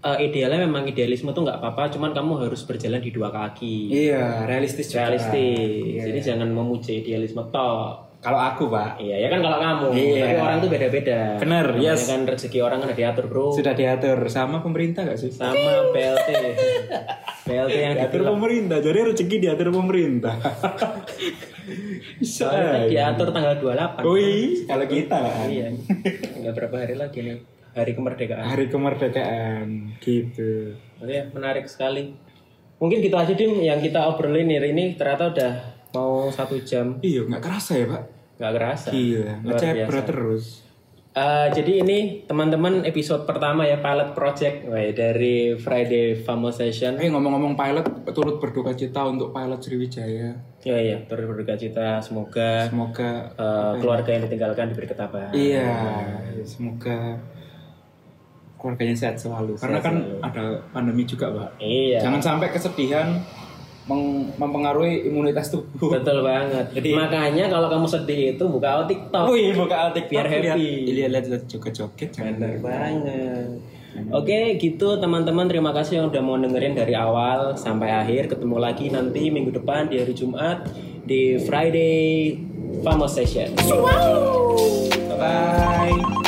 [SPEAKER 1] eh, idealnya memang idealisme tuh nggak apa-apa, cuman kamu harus berjalan di dua kaki.
[SPEAKER 2] Iya, realistis juga.
[SPEAKER 1] Realistis.
[SPEAKER 2] Iya.
[SPEAKER 1] Jadi jangan memuji idealisme tok.
[SPEAKER 2] Kalau aku, Pak,
[SPEAKER 1] Iya, ya kan kalau kamu.
[SPEAKER 2] Iya.
[SPEAKER 1] Tapi orang tuh beda-beda.
[SPEAKER 2] Bener,
[SPEAKER 1] Namanya
[SPEAKER 2] yes.
[SPEAKER 1] kan rezeki orang kan udah diatur, Bro.
[SPEAKER 2] sudah diatur sama pemerintah gak sih?
[SPEAKER 1] Sama PLT. PLT yang
[SPEAKER 2] Diatur
[SPEAKER 1] diatur
[SPEAKER 2] pemerintah, jadi rezeki diatur pemerintah. Bisa.
[SPEAKER 1] Soalnya kan diatur tanggal 28.
[SPEAKER 2] Wih, kalau kita lah. kan.
[SPEAKER 1] Iya. Enggak berapa hari lagi nih hari kemerdekaan.
[SPEAKER 2] Hari kemerdekaan gitu.
[SPEAKER 1] Oh ya, menarik sekali. Mungkin gitu aja Dim yang kita obrolin hari ini ternyata udah mau satu jam
[SPEAKER 2] Iya, nggak kerasa ya, Pak?
[SPEAKER 1] nggak kerasa.
[SPEAKER 2] Iya,
[SPEAKER 1] Luar biasa.
[SPEAKER 2] ngecebrot terus.
[SPEAKER 1] Eh, jadi ini teman-teman episode pertama ya pilot project Wah, dari Friday Famo Session.
[SPEAKER 2] Eh ngomong-ngomong pilot, turut berduka cita untuk pilot Sriwijaya.
[SPEAKER 1] Ya ya, turut berduka cita semoga
[SPEAKER 2] Semoga
[SPEAKER 1] eh, keluarga yang ditinggalkan diberi ketabahan.
[SPEAKER 2] iya, semoga keluarganya sehat selalu. Karena kan ada pandemi juga, Pak.
[SPEAKER 1] Iya.
[SPEAKER 2] Jangan sampai kesedihan meng- mempengaruhi imunitas tubuh.
[SPEAKER 1] Betul banget. Makanya kalau kamu sedih itu buka TikTok.
[SPEAKER 2] Wih, buka
[SPEAKER 1] iya,
[SPEAKER 2] altik
[SPEAKER 1] Biar happy.
[SPEAKER 2] Iya, lihat-lihat joget-joget jangan.
[SPEAKER 1] Bener banget. Oke, gitu teman-teman. Terima kasih yang udah mau dengerin dari awal sampai akhir. Ketemu lagi nanti minggu depan di hari Jumat di Friday Famos Session.
[SPEAKER 2] Bye.